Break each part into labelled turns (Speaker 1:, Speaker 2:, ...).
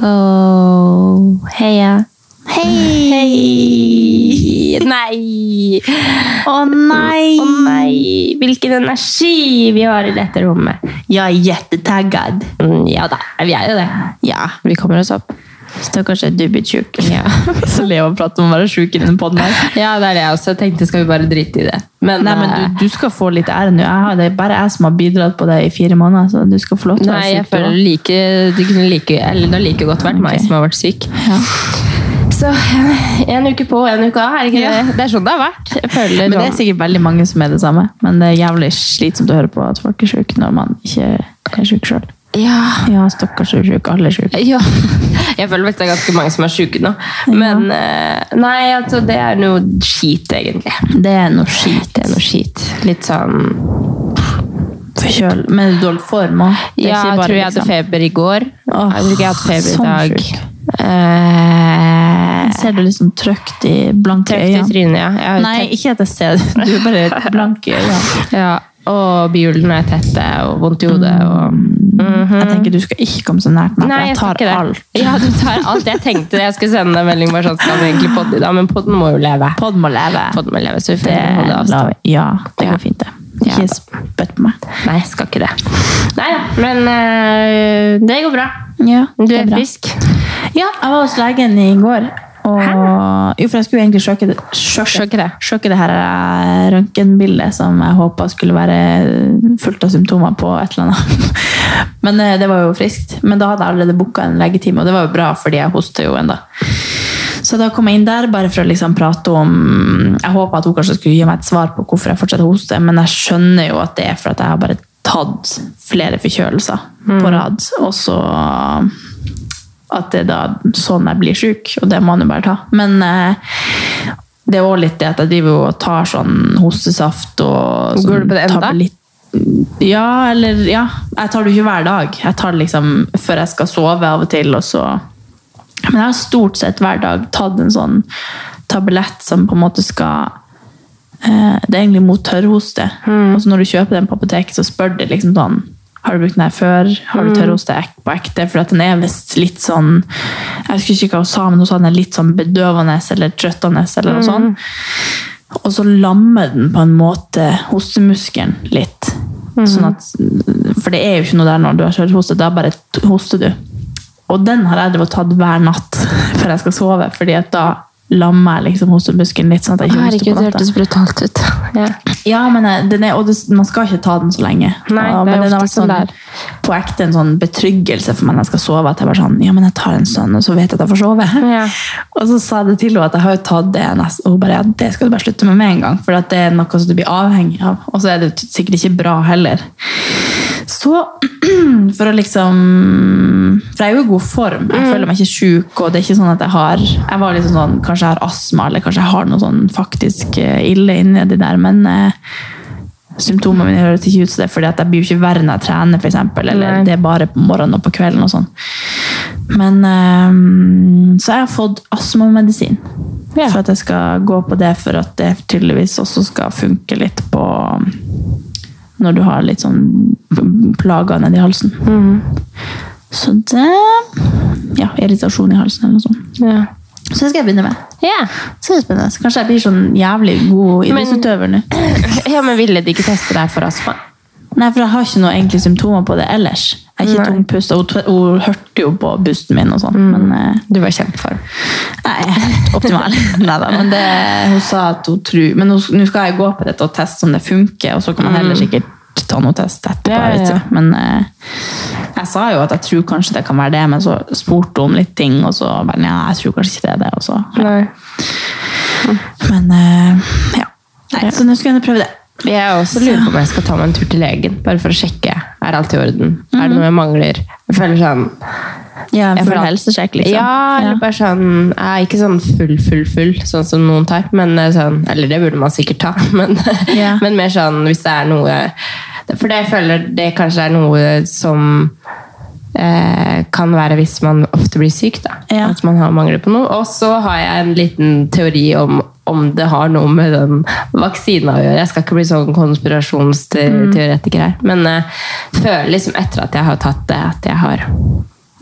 Speaker 1: Go! Heia!
Speaker 2: Hei!
Speaker 1: Hei! Nei!
Speaker 2: Å nei!
Speaker 1: Å nei, hvilken energi vi har i dette rommet.
Speaker 2: Jeg er jättetaggad.
Speaker 1: Mm, Ja da, vi er jo det.
Speaker 2: Ja, vi kommer oss opp. Stakkars er du blitt sjuk. Ja. Så Leo prater om å være sjuk i den podden her.
Speaker 1: Ja, det er det jeg også tenkte. Skal vi bare drite i det? Men,
Speaker 2: Nei, men du, du skal få litt ære nå. Jeg har, det er bare jeg som har bidratt på det i fire måneder, så du skal få lov til å
Speaker 1: Nei,
Speaker 2: være
Speaker 1: jeg
Speaker 2: syk, du
Speaker 1: føler
Speaker 2: også.
Speaker 1: like, det kunne like, eller det har like godt vært meg
Speaker 2: Ok.
Speaker 1: som har vært syk.
Speaker 2: Ja.
Speaker 1: Så eh, en uke på, en uke av. Er det ikke det? Det er sånn det har vært. Jeg føler
Speaker 2: Men det er
Speaker 1: sånn-
Speaker 2: sikkert veldig mange som er det samme. Men det er jævlig slitsomt å høre på at folk er syke når man ikke er syk sjøl.
Speaker 1: ja.
Speaker 2: Ja, stakkars er syk. Alle er syke.
Speaker 1: ja. Jeg føler faktisk det er ganske mange som er syke nå. Men eh, nei, altså det er noe skit, egentlig.
Speaker 2: Det er noe skit.
Speaker 1: Det er noe skit. Litt sånn
Speaker 2: Forkjøl. Men du dårlig form òg.
Speaker 1: Ja, jeg tror jeg hadde
Speaker 2: liksom-
Speaker 1: feber i går.
Speaker 2: Åh,
Speaker 1: jeg tror ikke jeg hadde feber i
Speaker 2: sånn
Speaker 1: dag.
Speaker 2: sjuk.
Speaker 1: Eh,
Speaker 2: Ser du liksom trøkt i blanke
Speaker 1: Trøkt i
Speaker 2: øyne?
Speaker 1: trynet, ja. Jeg har
Speaker 2: Nei, ikke at jeg ser det. Du er bare blank i øynene.
Speaker 1: Ja, og bihulene er tette og vondt i hodet. Og...
Speaker 2: Jeg tenker du skal ikke komme så nært meg, for jeg
Speaker 1: Mhm. skal
Speaker 2: tar
Speaker 1: ikke det.
Speaker 2: alt.
Speaker 1: Ja, du tar alt. Jeg tenkte jeg skulle sende en melding bare sånn, skal vi egentlig podde i dag? Men podden må jo leve.
Speaker 2: Pod må leve.
Speaker 1: Podden må leve, så vi får
Speaker 2: Det,
Speaker 1: holde avstand.
Speaker 2: lar vi- ja, det
Speaker 1: Ja.
Speaker 2: går fint, det.
Speaker 1: Ja.
Speaker 2: Ikke spytt på meg.
Speaker 1: Nei, jeg skal ikke det. Nei, da, men øh, det går bra.
Speaker 2: Ja,
Speaker 1: Du
Speaker 2: det
Speaker 1: er
Speaker 2: bra.
Speaker 1: frisk.
Speaker 2: Ja, jeg var hos legen i går. Og, jo, for jeg skulle jo egentlig sjokke det, sjokke,
Speaker 1: Sjokke det.
Speaker 2: sjokke det her eh, røntgenbildet som jeg håpa skulle være fullt av symptomer på et eller annet. Men eh, det var jo friskt. Men da hadde jeg allerede booka en legetime, og det var jo bra, fordi jeg hoster jo ennå. Så da kom jeg inn der bare for å liksom prate om Jeg håpa at hun kanskje skulle gi meg et svar på hvorfor jeg fortsetter å hoste, men jeg skjønner jo at det er for at jeg har bare tatt flere forkjølelser
Speaker 1: Mm.
Speaker 2: på rad. Og så at det er da sånn jeg blir syk, og det må man jo bare ta. Men eh, det er også litt det at jeg driver jo og tar sånn hostesaft og sånn
Speaker 1: Går du på det enda?
Speaker 2: tablett- Ja, eller ja. Jeg tar det jo ikke hver dag. Jeg tar det liksom før jeg skal sove av og til, og så men jeg har stort sett hver dag tatt en sånn tablett som på en måte skal eh, Det er egentlig mot tørrhoste. Og så når du kjøper den på apoteket, så spør de liksom sånn Har du brukt den her før? Har du tørrhoste ek- på ekte? For at den er visst litt sånn Jeg husker ikke hva hun sa, men hun sa den er litt sånn bedøvende eller trøttende eller noe sånt. Og så lammer den på en måte hostemuskelen litt. Sånn at, for det er jo ikke noe der når du har kjørt da bare t- hoster du. Og den har jeg drevet og tatt hver natt før jeg skal sove, fordi at da lammer jeg liksom hostemuskelen litt. sånn at jeg ikke hoster på natta.
Speaker 1: brutalt ut. Ja.
Speaker 2: Ja, men eh, den er, og det, man skal ikke ta den så lenge.
Speaker 1: Nei,
Speaker 2: ja,
Speaker 1: det er
Speaker 2: men den har
Speaker 1: ofte
Speaker 2: vært
Speaker 1: sånn
Speaker 2: sånn,
Speaker 1: det
Speaker 2: på ekte en sånn betryggelse for meg når jeg skal sove. At jeg bare sånn, ja, men jeg tar en sånn, og så vet jeg at jeg får sove.
Speaker 1: Ja.
Speaker 2: Og så sa jeg det til henne at jeg har jo tatt det. nest- Og hun bare, ja, det skal du bare slutte med med en gang. For at det er noe som du blir avhengig av. Og så er det jo sikkert ikke bra heller. Så for å liksom For jeg er jo i god form. Jeg føler meg ikke sjuk, og det er ikke sånn at jeg har Jeg var liksom sånn, Kanskje jeg har astma, eller kanskje jeg har noe sånn faktisk eh, ille inni det der, men eh, symptomene mine høres ikke ut som det, fordi at jeg blir jo ikke verre når jeg trener, for eksempel, eller
Speaker 1: Nei.
Speaker 2: det er bare på morgenen og på kvelden og sånn. Men eh, Så jeg har fått astmamedisin.
Speaker 1: Ja.
Speaker 2: For at jeg skal gå på det, for at det tydeligvis også skal funke litt på når du har litt sånn plager nedi halsen. Så det Ja, irritasjon i halsen eller noe sånt.
Speaker 1: Ja.
Speaker 2: Så det skal jeg begynne med.
Speaker 1: Ja.
Speaker 2: Så det er spennende. Så Kanskje jeg blir sånn jævlig god
Speaker 1: Men-
Speaker 2: idrettsutøver nå.
Speaker 1: ja, men ville de ikke teste deg for astma?
Speaker 2: Nei, for jeg har ikke noe egentlig symptomer på det ellers. Jeg er ikke
Speaker 1: Nei.
Speaker 2: tungpust, og hun, tve- hun hørte jo på pusten min og sånn, men eh,
Speaker 1: Du var i kjempeform.
Speaker 2: Nei, jeg er helt optimal. Neida, men det, hun sa at hun tror Men hun- nå skal jeg gå på dette og teste om det funker, og så kan man heller sikkert ta noe test
Speaker 1: Mm.
Speaker 2: etterpå.
Speaker 1: Ja, ja,
Speaker 2: jeg vet
Speaker 1: ja.
Speaker 2: ikke. Men eh, jeg sa jo at jeg tror kanskje det kan være det, men så spurte hun om litt ting, og så bare ja, jeg tror kanskje ikke det er det. Og så.
Speaker 1: Nei.
Speaker 2: Men eh, ja. Nei, så nå skal jeg prøve det.
Speaker 1: Jeg også lurer på om jeg skal ta meg en tur til legen, bare for å sjekke. Er alt i orden? Er det noe jeg mangler? Jeg føler sånn
Speaker 2: Ja,
Speaker 1: jeg
Speaker 2: full
Speaker 1: føler at-
Speaker 2: helsesjekk, liksom.
Speaker 1: Ja, eller bare sånn Jeg er ikke sånn full, full, full, sånn som noen tar. Men eh, sånn, eller det burde man sikkert ta, men,
Speaker 2: Ja.
Speaker 1: men mer sånn hvis det er noe For det jeg føler det kanskje er noe som eh, kan være hvis man ofte blir syk, da.
Speaker 2: Ja.
Speaker 1: At man har mangler på noe. Og så har jeg en liten teori om om det har noe med den vaksina å gjøre. Jeg skal ikke bli sånn eh, konspirasjonsteoretiker her. Men jeg føler liksom etter at jeg har tatt det, at jeg har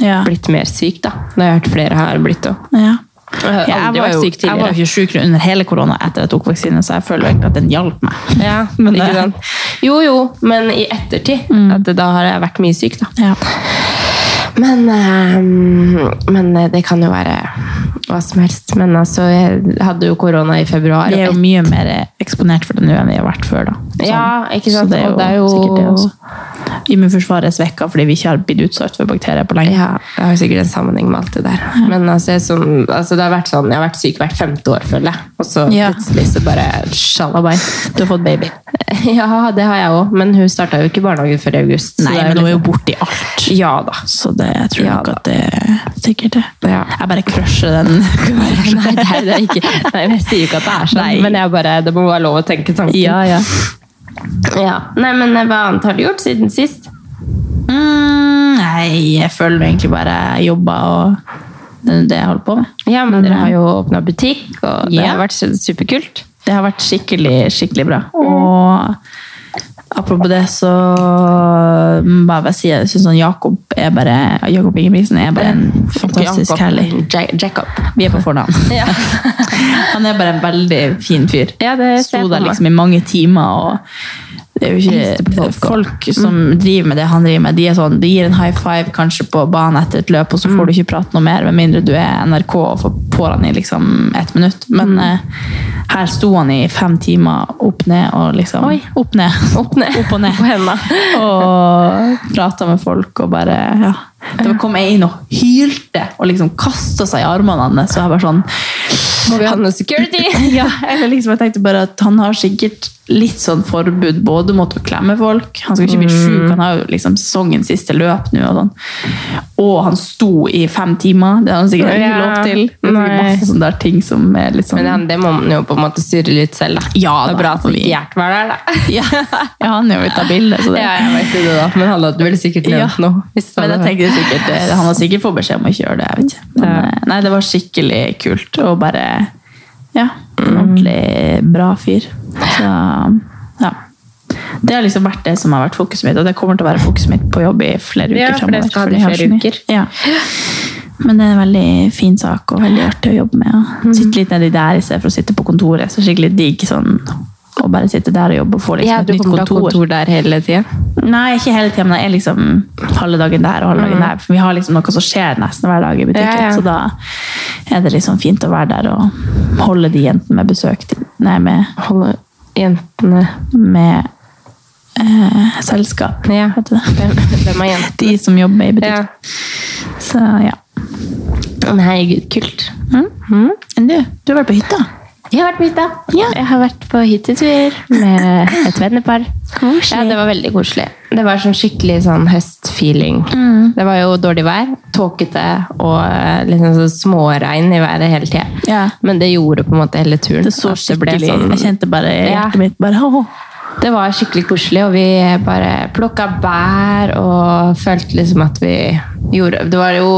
Speaker 2: Ja.
Speaker 1: blitt mer syk, da. Det har jeg hørt flere har blitt òg.
Speaker 2: Ja.
Speaker 1: Jeg har
Speaker 2: Ja,
Speaker 1: aldri
Speaker 2: jeg, var
Speaker 1: vært
Speaker 2: jo,
Speaker 1: syk
Speaker 2: jeg var jo
Speaker 1: tidligere.
Speaker 2: ikke syk under hele korona etter jeg tok vaksine, så jeg føler egentlig at den hjalp meg.
Speaker 1: Ja,
Speaker 2: Men
Speaker 1: ikke
Speaker 2: det-
Speaker 1: sant? Jo, jo, men i ettertid. At da har jeg vært mye syk, da.
Speaker 2: Ja.
Speaker 1: Men, eh, men det kan jo være hva som helst. Men altså, jeg hadde jo korona i februar.
Speaker 2: Vi er
Speaker 1: og
Speaker 2: jo mye mer eksponert for det nå enn vi har vært før. Da. Sånn.
Speaker 1: Ja, ikke sant?
Speaker 2: Så det er jo,
Speaker 1: Og det er jo-
Speaker 2: sikkert det også. Immunforsvaret er svekka fordi vi ikke har blitt utsatt for bakterier på lenge.
Speaker 1: Ja, det har sikkert en sammenheng med alt det der. Men altså, jeg, som, altså, det har vært sånn, jeg har vært syk hvert femte år, føler jeg. Og så
Speaker 2: Ja.
Speaker 1: plutselig så bare shalabai.
Speaker 2: Du har fått baby.
Speaker 1: Ja, det har jeg òg, men hun starta jo ikke bornehage før i august. så
Speaker 2: Nei,
Speaker 1: det
Speaker 2: men
Speaker 1: jo
Speaker 2: hun er jo
Speaker 1: litt-
Speaker 2: borte i alt.
Speaker 1: Ja da.
Speaker 2: Så det, jeg tror
Speaker 1: Ja,
Speaker 2: nok
Speaker 1: da.
Speaker 2: at det er sikkert det.
Speaker 1: Ja.
Speaker 2: Jeg bare crusher den.
Speaker 1: Nei, det er, det er ikke, nei, men jeg sier jo ikke at det er sånn,
Speaker 2: Nei.
Speaker 1: men jeg bare, det må være lov å tenke tanken.
Speaker 2: ja, ja.
Speaker 1: Ja. Nei, men eh, hva annet har du gjort siden sist?
Speaker 2: Mm, nei, jeg føler egentlig bare jeg jobber og det er det jeg holder på med.
Speaker 1: Ja, men dere har jo åpna butikk, og det
Speaker 2: Ja.
Speaker 1: har vært superkult.
Speaker 2: Det har vært skikkelig, skikkelig bra. Og apropos det, så må jeg bare si jeg syns sånn Jakob er bare Jakob Ingebrigtsen er bare en fantastisk
Speaker 1: Jakob.
Speaker 2: herlig
Speaker 1: Ja- Jacob.
Speaker 2: Vi er på fornavn.
Speaker 1: Ja.
Speaker 2: Han er bare en veldig fin fyr.
Speaker 1: Ja, det ser
Speaker 2: Sto
Speaker 1: jeg på
Speaker 2: der
Speaker 1: meg.
Speaker 2: liksom i mange timer og det er jo
Speaker 1: Hilste på folk
Speaker 2: ikke
Speaker 1: Mm.
Speaker 2: folk, som driver med det han driver med. De, er sånn, de gir en high five kanskje på banen etter et løp, og så
Speaker 1: Mm.
Speaker 2: får du ikke prate noe mer, med mindre du er NRK og får på'n i liksom ett minutt. Men
Speaker 1: Mm.
Speaker 2: eh, her sto han i fem timer opp ned og liksom
Speaker 1: Oi.
Speaker 2: Opp ned.
Speaker 1: Opp ned.
Speaker 2: Opp og ned.
Speaker 1: På hendene.
Speaker 2: Og prata med folk og bare ja. Da kom jeg inn og hylte og liksom kasta seg i armene hans. Og jeg bare sånn
Speaker 1: Må vi ha noe security?
Speaker 2: ja, eller liksom jeg tenkte bare at han har sikkert litt sånn forbud både mot å klemme folk, han skal ikke bli
Speaker 1: Mm.
Speaker 2: syk, han har jo liksom sesongens siste løp nå og sånn. Og han sto i fem timer, det har han sikkert ikke
Speaker 1: Ja.
Speaker 2: lov til. Det er
Speaker 1: Nei.
Speaker 2: sikkert masse sånne der ting som er litt sånn...
Speaker 1: Men det, det må man jo på en måte styre litt selv, da.
Speaker 2: Ja,
Speaker 1: det
Speaker 2: da,
Speaker 1: er bra at
Speaker 2: for vi-
Speaker 1: ikke Gjert var der, da.
Speaker 2: ja, ja, han er jo ute av bildet, så det...
Speaker 1: Ja, jeg vet jo det, da. Men han hadde vel sikkert
Speaker 2: Ja.
Speaker 1: nevnt noe. hvis han
Speaker 2: Men jeg
Speaker 1: hadde
Speaker 2: tenkte sikkert, eh, Han har sikkert fått beskjed om å ikke gjøre det. jeg vet ikke. Men,
Speaker 1: Ja.
Speaker 2: eh, Nei, Det var skikkelig kult. Og bare Ja.
Speaker 1: Mm.
Speaker 2: en Ordentlig bra fyr. Så ja. Det har liksom vært det som har vært fokuset mitt, og det kommer til å være fokuset mitt på jobb i flere uker
Speaker 1: Ja, for
Speaker 2: fremover,
Speaker 1: det skal ha
Speaker 2: fordi
Speaker 1: det i
Speaker 2: jeg har
Speaker 1: flere
Speaker 2: så mye.
Speaker 1: uker.
Speaker 2: Ja. Men det er en veldig fin sak og veldig artig å jobbe med.
Speaker 1: Mm.
Speaker 2: og Sitte litt nedi der i stedet for å sitte på kontoret. Så skikkelig digg sånn, å bare sitte der og jobbe og få liksom,
Speaker 1: Ja,
Speaker 2: et
Speaker 1: du
Speaker 2: nytt
Speaker 1: kommer til å ha
Speaker 2: kontor.
Speaker 1: kontor der hele tida.
Speaker 2: Nei, ikke hele tiden, men jeg er liksom halve dagen der og halve dagen der. For vi har liksom noe som skjer nesten hver dag i butikken.
Speaker 1: Ja, ja.
Speaker 2: Så da er det liksom fint å være der og holde de jentene med besøk til, Nei, med,
Speaker 1: Holde jentene
Speaker 2: med eh, selskap.
Speaker 1: Ja.
Speaker 2: Vet du det?
Speaker 1: Hvem, hvem er jentene?
Speaker 2: De som jobber i
Speaker 1: Ja.
Speaker 2: butikk. Så ja.
Speaker 1: Nei, gud, kult.
Speaker 2: Mm. Enn du? Du har vært på hytta?
Speaker 1: Jeg har vært på hytta.
Speaker 2: Ja.
Speaker 1: Jeg har vært på hyttetur med et vennepar.
Speaker 2: Koselig.
Speaker 1: Ja, det var veldig koselig. Det var sånn skikkelig sånn høstfeeling. Mm.
Speaker 2: Mm.
Speaker 1: Det var jo dårlig vær, tåkete og eh, liksom så småregn i været hele tida.
Speaker 2: Ja.
Speaker 1: Men det gjorde på en måte hele turen.
Speaker 2: Det så
Speaker 1: at det ble
Speaker 2: skikkelig
Speaker 1: sånn-
Speaker 2: Jeg kjente bare i
Speaker 1: Ja.
Speaker 2: hjertet mitt bare, åh.
Speaker 1: Det var skikkelig koselig, og vi bare plukka bær og følte liksom at vi gjorde Det var jo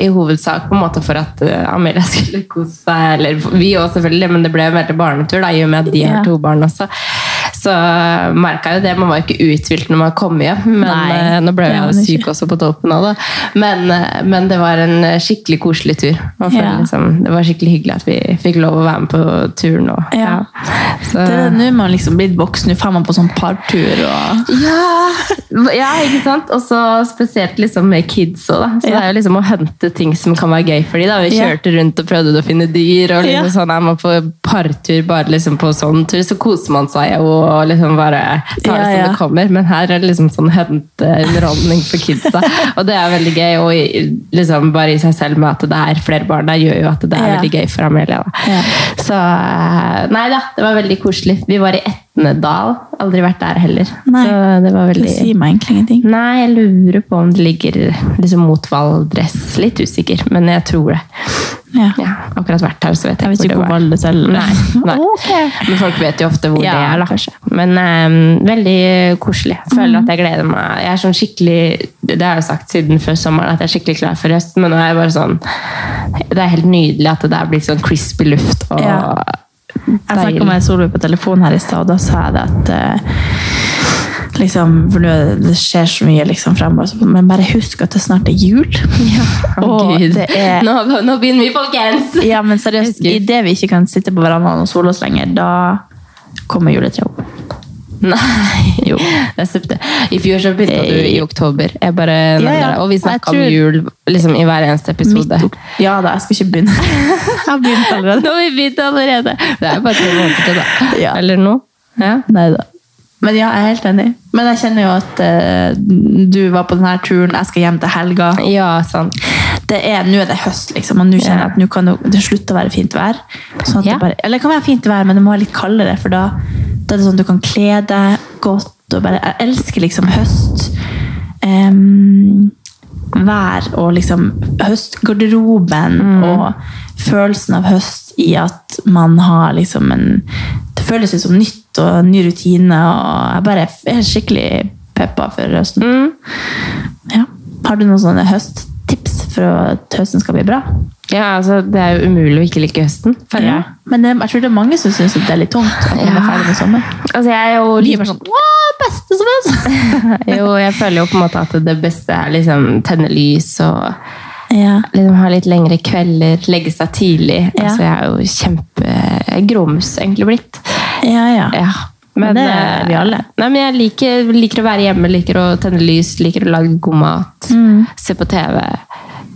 Speaker 1: i hovedsak på en måte for at eh, Amelia skulle kose seg, eller vi òg selvfølgelig, men det ble en veldig barnetur da, i og med at de har
Speaker 2: Ja.
Speaker 1: to barn også. Så merka jo det. Man var jo ikke uthvilt når man kom hjem, men
Speaker 2: Nei,
Speaker 1: eh, nå ble
Speaker 2: det
Speaker 1: jeg
Speaker 2: var
Speaker 1: jo
Speaker 2: man
Speaker 1: syk
Speaker 2: ikke.
Speaker 1: også på toppen av det. Men, eh, men det var en eh, skikkelig koselig tur. Man føler
Speaker 2: Ja.
Speaker 1: liksom, det var skikkelig hyggelig at vi fikk lov å være med på turen òg.
Speaker 2: Ja.
Speaker 1: Så-
Speaker 2: Det er nå er man liksom blitt voksen, nå får man på sånn partur og
Speaker 1: ja, ja, ikke sant? Og så spesielt liksom med kids også, da. Så
Speaker 2: Ja.
Speaker 1: det er jo liksom å hente ting som kan være gøy for dem. Vi
Speaker 2: Ja.
Speaker 1: kjørte rundt og prøvde å finne dyr, og liksom
Speaker 2: Ja.
Speaker 1: sånn er man på partur, bare liksom på sånn tur, så koser man seg jo og liksom bare tar det
Speaker 2: Ja,
Speaker 1: som
Speaker 2: ja.
Speaker 1: det kommer. Men her er det liksom sånn hente underholdning for kidsa. og det er veldig gøy, og i- liksom bare i seg selv med at det er flere barn der, gjør jo at det er
Speaker 2: Ja.
Speaker 1: veldig gøy for Amelia. Da.
Speaker 2: Ja.
Speaker 1: Så eh, nei da, det var veldig koselig. Vi var i Etnedal. Aldri vært der heller.
Speaker 2: Nei.
Speaker 1: Så det var
Speaker 2: Det
Speaker 1: veldig
Speaker 2: sier meg egentlig ingenting.
Speaker 1: Nei, jeg lurer på om det ligger liksom mot Valdres. Litt usikker, men jeg tror det.
Speaker 2: Ja.
Speaker 1: Ja, akkurat vært her, så vet jeg,
Speaker 2: Jeg vet ikke
Speaker 1: hvor
Speaker 2: hvor
Speaker 1: det var.
Speaker 2: Valdres eller
Speaker 1: Nei, nei. Men folk vet jo ofte hvor
Speaker 2: Ja,
Speaker 1: det er, da.
Speaker 2: kanskje. Mhm.
Speaker 1: Men eh, veldig koselig. Jeg føler at jeg gleder meg. Jeg er sånn skikkelig Det har jeg jo sagt siden før sommeren, at jeg er skikkelig klar for høst, men nå er jeg bare sånn Det er helt nydelig at det der blir sånn crispy luft og
Speaker 2: Ja. Jeg
Speaker 1: deilig.
Speaker 2: snakka med Solveig på telefon her i stad, og da sa jeg det at eh, liksom, for nå er det- det skjer så mye liksom fremover, så- men bare husk at det snart er jul.
Speaker 1: Å,
Speaker 2: og
Speaker 1: Gud.
Speaker 2: det er
Speaker 1: nå, nå begynner vi, folkens!
Speaker 2: Ja, men seriøst,
Speaker 1: Jeg husker.
Speaker 2: idet vi ikke kan sitte på verandaen og sole oss lenger, da kommer juletreet opp.
Speaker 1: Nei.
Speaker 2: Jo.
Speaker 1: Det er septe- I fjor så begynte du i oktober. Jeg bare nevner
Speaker 2: ja.
Speaker 1: det. Og vi snakka om
Speaker 2: Jeg tror-
Speaker 1: jul liksom, i hver eneste
Speaker 2: Midt
Speaker 1: episode.
Speaker 2: ok- Ja da, jeg skal ikke begynne. jeg har begynt allerede.
Speaker 1: Nå har vi begynt allerede! Det er jo bare to måneder til, da.
Speaker 2: Ja.
Speaker 1: Eller nå. Ja.
Speaker 2: Neida. Men ja, jeg er helt enig. Men jeg kjenner jo at eh, du var på denne turen, jeg skal hjem til helga.
Speaker 1: ja, sant.
Speaker 2: det er, nå er det høst, liksom, og nå kjenner
Speaker 1: Ja.
Speaker 2: jeg at nå kan det, det slutte å være fint vær. Sånn at
Speaker 1: Ja.
Speaker 2: det bare, eller det kan være fint vær, men det må være litt kaldere, for da, da er det sånn at du kan kle deg godt. Og bare, jeg elsker liksom høst. em, vær og liksom høstgarderoben og følelsen av høst i at man har liksom en Det føles ut som nytt og ny rutine, og jeg bare er skikkelig peppa for høsten. Ja. Har du noen sånne høsttips for at høsten skal bli bra?
Speaker 1: Ja, altså, det er jo umulig å ikke like høsten. føler jeg.
Speaker 2: Men det, jeg tror det er mange som syns det er litt tungt at man er
Speaker 1: Ja.
Speaker 2: ferdig med sommer.
Speaker 1: Altså, jeg er jo
Speaker 2: Og de er
Speaker 1: litt-
Speaker 2: bare sånn Å, beste som helst!
Speaker 1: jo, jeg føler jo på en måte at det beste er liksom tenne lys og
Speaker 2: ja.
Speaker 1: liksom ha litt lengre kvelder, legge seg tidlig.
Speaker 2: Ja.
Speaker 1: Altså, jeg er jo kjempe gromus egentlig blitt.
Speaker 2: ja, ja.
Speaker 1: Ja.
Speaker 2: Men det er
Speaker 1: eh,
Speaker 2: vi alle.
Speaker 1: Nei, men jeg liker, liker å være hjemme, liker å tenne lys, liker å lage god mat,
Speaker 2: Mm.
Speaker 1: se på TV.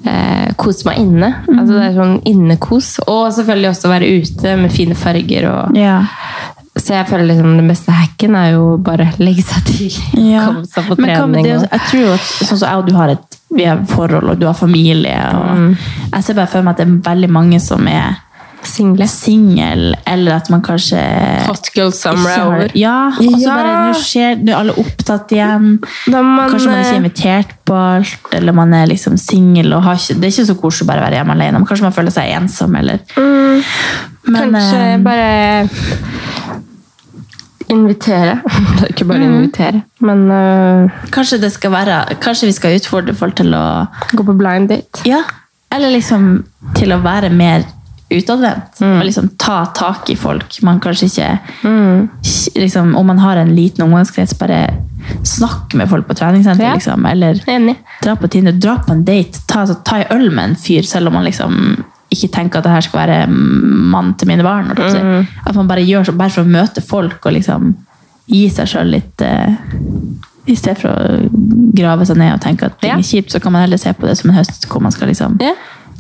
Speaker 1: Eh, kose meg inne. Altså, det
Speaker 2: Mm.
Speaker 1: er sånn innekos. Og selvfølgelig også være ute med fine farger og
Speaker 2: ja.
Speaker 1: Så jeg føler liksom den beste hacken er jo bare legge seg tidlig.
Speaker 2: Ja.
Speaker 1: Komme seg på
Speaker 2: Men hva
Speaker 1: trening.
Speaker 2: med det,
Speaker 1: og-
Speaker 2: jeg tror jo at sånn som jeg og du har et vi har forhold, og du har familie og
Speaker 1: Mm.
Speaker 2: Jeg ser bare for meg at det er veldig mange som er
Speaker 1: Single.
Speaker 2: single, eller at man kanskje
Speaker 1: Hot girl summer
Speaker 2: ikke
Speaker 1: er
Speaker 2: har-
Speaker 1: over.
Speaker 2: Ja, og så
Speaker 1: Ja.
Speaker 2: bare Nå skjer nå er alle opptatt igjen.
Speaker 1: Da man,
Speaker 2: Kanskje man ikke er
Speaker 1: eh,
Speaker 2: invitert på alt, eller man er liksom singel. og har ikke- Det er ikke så koselig å bare være hjemme alene. Men kanskje man føler seg ensom, eller Men,
Speaker 1: Mm. Kanskje
Speaker 2: eh,
Speaker 1: bare invitere. Det er ikke bare invitere, men eh,
Speaker 2: kanskje det skal være Kanskje vi skal utfordre folk til å
Speaker 1: gå på blind date.
Speaker 2: Ja. Eller liksom til å være mer utadvendt.
Speaker 1: Mm.
Speaker 2: Og liksom ta tak i folk. Man kanskje ikke
Speaker 1: Mm,
Speaker 2: liksom, Om man har en liten omgangskrets, bare snakk med folk på treningssenter,
Speaker 1: Ja.
Speaker 2: liksom. Eller
Speaker 1: Enig.
Speaker 2: Dra på Tinder, dra på en date, ta, altså, ta en øl med en fyr, selv om man liksom ikke tenker at det her skal være mann til mine barn. holdt jeg på å si.
Speaker 1: Mm.
Speaker 2: At man bare gjør så, bare for å møte folk og liksom gi seg sjøl litt eh, I stedet for å grave seg ned og tenke at ting
Speaker 1: Ja.
Speaker 2: er kjipt, så kan man heller se på det som en høst hvor man skal liksom
Speaker 1: Ja.